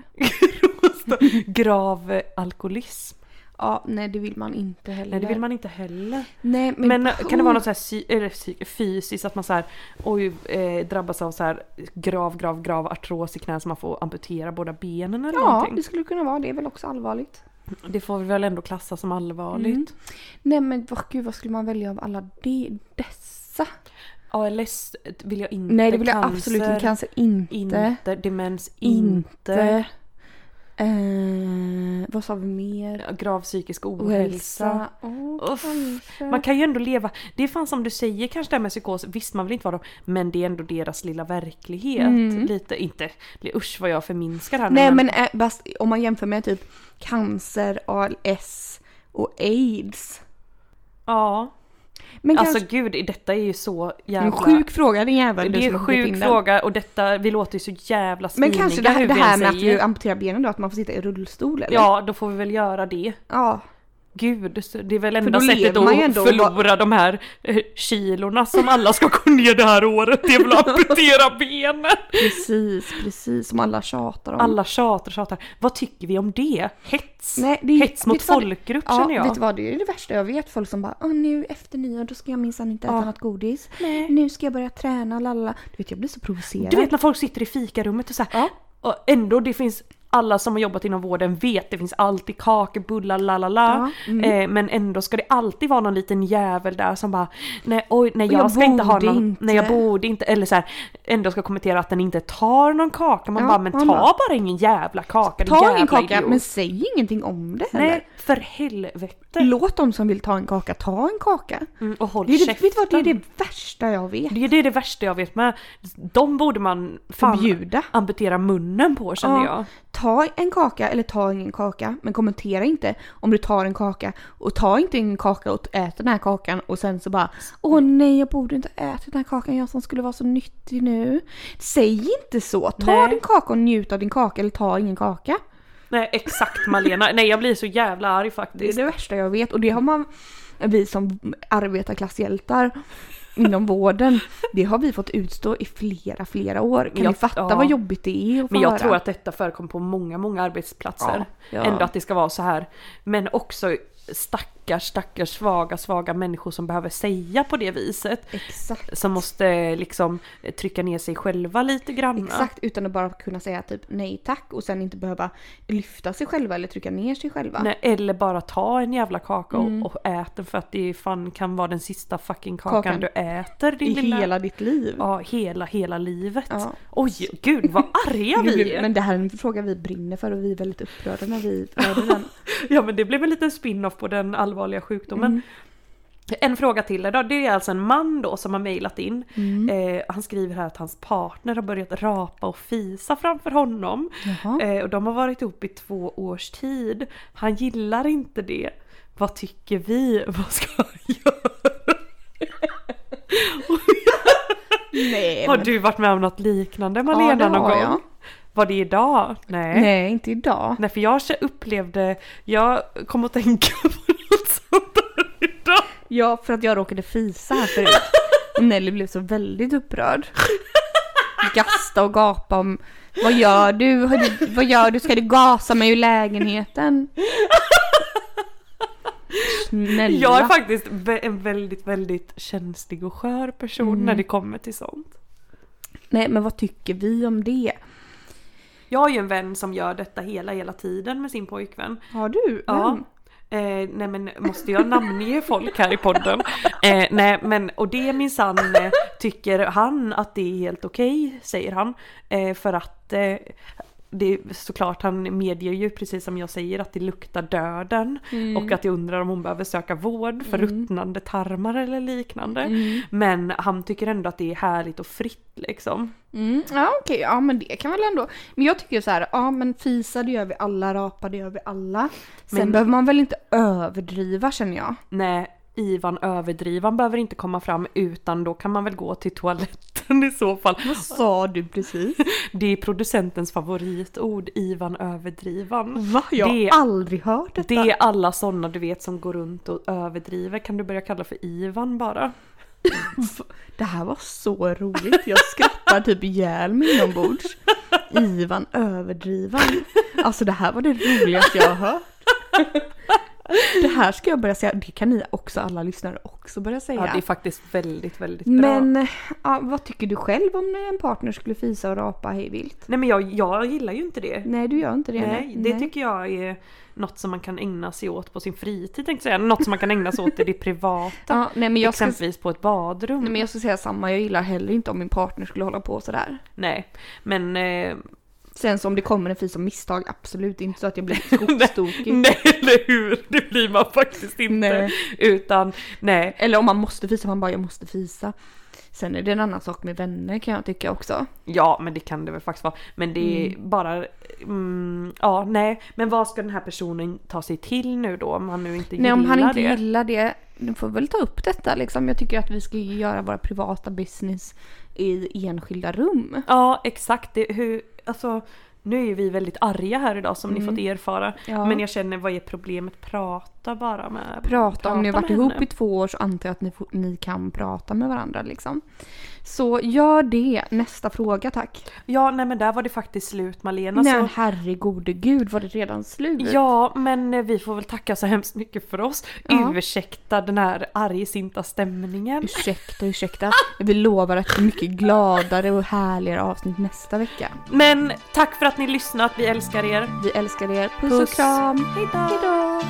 Speaker 1: Grav alkoholism.
Speaker 3: Ja, nej det vill man inte heller.
Speaker 1: Nej det vill man inte heller.
Speaker 3: Nej, men,
Speaker 1: Men eh, kan det vara
Speaker 3: Oh.
Speaker 1: något så här sy- eller psy- fysiskt att man så här, oj, eh, drabbas av så här grav, grav, grav artros i knän så man får amputera båda benen eller
Speaker 3: Ja,
Speaker 1: någonting?
Speaker 3: det skulle kunna vara. Det är väl också allvarligt.
Speaker 1: Det får vi väl ändå klassa som allvarligt.
Speaker 3: Mm. Nej men vad, gud, vad skulle man välja av alla de, dessa?
Speaker 1: ALS vill jag inte.
Speaker 3: Nej det vill jag
Speaker 1: Cancer,
Speaker 3: absolut inte. Cancer inte.
Speaker 1: Inte. Demens
Speaker 3: Inte.
Speaker 1: inte.
Speaker 3: Eh, vad sa vi mer?
Speaker 1: Grav psykisk ohälsa.
Speaker 3: Ohälsa. Oh,
Speaker 1: Uff. Man kan ju ändå leva, det är fan som du säger kanske det här med psykos, visst man vill inte vara dem men det är ändå deras lilla verklighet. Lite, inte, usch vad jag förminskar här nu,
Speaker 3: Mm. Nej men eh, bast, om man jämför med typ cancer, ALS och aids.
Speaker 1: Ja,
Speaker 3: Men
Speaker 1: alltså
Speaker 3: kanske,
Speaker 1: gud detta är ju så
Speaker 3: en
Speaker 1: jävla...
Speaker 3: sjuk fråga den jäveln
Speaker 1: det är
Speaker 3: som
Speaker 1: en
Speaker 3: har skickat
Speaker 1: sjuk
Speaker 3: in den.
Speaker 1: fråga och detta, vi låter ju så jävla
Speaker 3: Men
Speaker 1: sviniga
Speaker 3: kanske det här,
Speaker 1: hur
Speaker 3: det
Speaker 1: vi
Speaker 3: här
Speaker 1: än
Speaker 3: med att
Speaker 1: säger.
Speaker 3: du amputerar benen då, att man får sitta i rullstol eller?
Speaker 1: Ja, då får vi väl göra det.
Speaker 3: ja.
Speaker 1: gud, så det är väl enda
Speaker 3: då
Speaker 1: sättet
Speaker 3: lever
Speaker 1: att
Speaker 3: man ju ändå-
Speaker 1: förlora de här eh, kilorna som alla ska gå ner det här året, det är väl att amputera benen!
Speaker 3: Precis, precis som alla tjatar om.
Speaker 1: Alla tjatar och tjatar. Vad tycker vi om det? Hets!
Speaker 3: Nej, det är-
Speaker 1: Hets mot
Speaker 3: vet du vad det-
Speaker 1: folkgrupp
Speaker 3: Ja,
Speaker 1: känner jag.
Speaker 3: vet du vad? Det är det värsta jag vet. Folk som bara Åh, nu efter nyår då ska jag minsann inte äta
Speaker 1: Ja.
Speaker 3: något godis.
Speaker 1: Nej.
Speaker 3: Nu ska jag börja träna, lalala. Du vet jag blir så provocerad.
Speaker 1: Du vet när folk sitter i fikarummet och så här, och ändå det finns alla som har jobbat inom vården vet det finns alltid kakor, bullar, la la la.
Speaker 3: Ja, mm.
Speaker 1: Eh, Men ändå ska det alltid vara någon liten jävel där som bara nej oj nej
Speaker 3: Och
Speaker 1: jag,
Speaker 3: jag
Speaker 1: ska inte ha
Speaker 3: borde
Speaker 1: någon,
Speaker 3: inte."
Speaker 1: nej jag borde inte, eller så här, ändå ska kommentera att den inte tar någon kaka. Man
Speaker 3: Ja,
Speaker 1: bara men ta
Speaker 3: man bara-
Speaker 1: bara ingen jävla kaka din
Speaker 3: Ta
Speaker 1: jävla
Speaker 3: ingen kaka
Speaker 1: idiot."
Speaker 3: men säg ingenting om det heller.
Speaker 1: Nej för helvete.
Speaker 3: Låt de som vill ta en kaka ta en kaka.
Speaker 1: Mm, och håll
Speaker 3: Det är det, vet
Speaker 1: käften.
Speaker 3: du vad, det är det värsta jag vet.
Speaker 1: Det är det, är det värsta jag vet med. De borde man fan
Speaker 3: Förbjuda.
Speaker 1: amputera munnen på känner
Speaker 3: Ja.
Speaker 1: jag.
Speaker 3: Ta en kaka eller ta ingen kaka, men kommentera inte om du tar en kaka. Och ta inte en kaka och ät den här kakan och sen så bara Åh nej, jag borde inte äta den här kakan, jag som skulle vara så nyttig nu. Säg inte så! Ta
Speaker 1: Nej.
Speaker 3: din kaka och njut av din kaka eller ta ingen kaka.
Speaker 1: Nej exakt Malena, nej jag blir så jävla arg
Speaker 3: Det är
Speaker 1: faktiskt.
Speaker 3: det värsta jag vet och det har man, vi som arbetarklasshjältar inom vården, det har vi fått utstå i flera, flera år. Kan
Speaker 1: Jag-
Speaker 3: ni fatta
Speaker 1: ja.
Speaker 3: vad jobbigt det är att få
Speaker 1: Men jag
Speaker 3: höra?
Speaker 1: tror att detta förekommer på många, många arbetsplatser.
Speaker 3: Ja, ja.
Speaker 1: Ändå att det ska vara så här. Men också stackars, stackars svaga, svaga människor som behöver säga på det viset.
Speaker 3: Exakt.
Speaker 1: Som måste eh, liksom eh, trycka ner sig själva lite grann.
Speaker 3: Exakt, utan att bara kunna säga typ nej tack och sen inte behöva lyfta sig själva eller trycka ner sig själva.
Speaker 1: Nej, eller bara ta en jävla kaka
Speaker 3: Mm.
Speaker 1: och, och ät den för att det fan kan vara den sista fucking kakan,
Speaker 3: Kakan.
Speaker 1: du äter din
Speaker 3: I
Speaker 1: lilla...
Speaker 3: hela ditt liv.
Speaker 1: Ja, hela, hela livet.
Speaker 3: Ja.
Speaker 1: Oj, gud vad arga
Speaker 3: Nu
Speaker 1: vi
Speaker 3: vill-
Speaker 1: är!
Speaker 3: Men det här är en fråga vi brinner för och vi är väldigt upprörda när vi hörde den.
Speaker 1: Ja men det blev en liten spin-off på den allvarliga sjukdomen.
Speaker 3: Mm.
Speaker 1: En fråga till idag. Det är alltså en man då som har mejlat in.
Speaker 3: Mm.
Speaker 1: Eh, han skriver här att hans partner har börjat rapa och fisa framför honom.
Speaker 3: Jaha.
Speaker 1: Eh, och de har varit ihop i två års tid. Han gillar inte det. Vad tycker vi? Vad ska han göra?
Speaker 3: Nej,
Speaker 1: Har
Speaker 3: men-
Speaker 1: du varit med om något liknande Malena
Speaker 3: det har
Speaker 1: någon gång?
Speaker 3: jag.
Speaker 1: Var det idag? Nej.
Speaker 3: nej inte idag.
Speaker 1: Nej för jag upplevde, jag kom att tänka på något sånt där idag.
Speaker 3: Ja, för att jag råkade fisa här förut. Och Nelly blev så väldigt upprörd. Gasta och gapa om vad gör du? Har du- Vad gör du? Ska du gasa mig ur lägenheten? Snälla.
Speaker 1: Jag är faktiskt vä- en väldigt, väldigt känslig och skör person när det kommer till sånt.
Speaker 3: Nej, men vad tycker vi om det?
Speaker 1: Jag har ju en vän som gör detta hela, hela tiden med sin pojkvän.
Speaker 3: Har du?
Speaker 1: Ja.
Speaker 3: Vem?
Speaker 1: Eh, nej men måste jag namnge folk här i podden? Eh, nej men och det minsann eh, tycker han att det är helt okej säger han. Eh, för att eh, det är såklart han medger ju precis som jag säger att det luktar döden och att jag undrar om hon behöver söka vård för ruttnande tarmar eller liknande. Men han tycker ändå att det är härligt och fritt liksom.
Speaker 3: Mm, ja okej, ja men det kan väl ändå. Men jag tycker ju så här, ja men fisa det gör vi alla, rapa det gör vi alla. Sen
Speaker 1: Men-
Speaker 3: behöver man väl inte överdriva känner jag.
Speaker 1: Nej, Ivan överdrivan behöver inte komma fram utan då kan man väl gå till toaletten i så fall.
Speaker 3: Sa du precis?
Speaker 1: Det är producentens favoritord, Ivan överdrivan.
Speaker 3: Va? Jag har
Speaker 1: Det-
Speaker 3: aldrig hört detta.
Speaker 1: Det är alla sådana du vet som går runt och överdriver. Kan du börja kalla för Ivan bara?
Speaker 3: Det här var så roligt. Jag skrattar typ ihjäl mig inombords. Ivan överdrivan. Alltså det här var det roligaste jag har hört. Det här ska jag börja säga. Det kan ni också, alla lyssnare, också börja säga.
Speaker 1: Ja, det är faktiskt väldigt, väldigt bra.
Speaker 3: Men ja, vad tycker du själv om en partner skulle fisa och rapa hej vilt?
Speaker 1: Nej men jag, jag gillar ju inte det.
Speaker 3: Nej, du gör inte det.
Speaker 1: Nej, det tycker jag är något som man kan ägna sig åt på sin fritid tänkte jag säga. Något som man kan ägna sig åt i det privata.
Speaker 3: Ja, nej, men jag ska, nej,
Speaker 1: exempelvis på ett badrum.
Speaker 3: men jag ska säga samma. Jag gillar heller inte om min partner skulle hålla på sådär.
Speaker 1: Nej, men... Eh,
Speaker 3: Sen så om det kommer en fis av misstag, absolut inte så att jag blir skogstokig.
Speaker 1: nej, eller hur? Det blir man faktiskt inte.
Speaker 3: Nej.
Speaker 1: Utan, nej.
Speaker 3: Eller om man måste fisa, man bara jag måste fisa. Sen är det en annan sak med vänner kan jag tycka också.
Speaker 1: Ja, men det kan det väl faktiskt vara. Men det är bara... Mm, ja, nej. Men vad ska den här personen ta sig till nu då? Om han nu inte
Speaker 3: Nej
Speaker 1: gillar
Speaker 3: om han inte
Speaker 1: det.
Speaker 3: gillar det, du får väl ta upp detta liksom. Jag tycker att vi ska ju göra våra privata business i enskilda rum.
Speaker 1: Ja, exakt. Det, hur, alltså, Nu är ju vi väldigt arga här idag som ni
Speaker 3: Mm.
Speaker 1: fått erfara.
Speaker 3: Ja.
Speaker 1: Men jag känner, vad är problemet? Prata bara med...
Speaker 3: Prata, om ni har
Speaker 1: med
Speaker 3: varit ihop
Speaker 1: henne.
Speaker 3: i två år så antar jag att ni, får- ni kan prata med varandra liksom. Så gör det. Nästa fråga tack.
Speaker 1: Ja, nej men där var det faktiskt slut Malena.
Speaker 3: Nej
Speaker 1: så-
Speaker 3: men herregode gud var det redan slut?
Speaker 1: Alltså- Ja, men eh, vi får väl tacka så hemskt mycket för oss.
Speaker 3: Ja.
Speaker 1: Ursäkta den här argsinta stämningen.
Speaker 3: Ursäkta, ursäkta. Vi lovar att det är mycket gladare och härligare avsnitt nästa vecka.
Speaker 1: Men tack för att ni lyssnat, vi älskar er.
Speaker 3: Vi älskar er. Puss, och
Speaker 1: Puss.
Speaker 3: kram.
Speaker 1: Hejdå!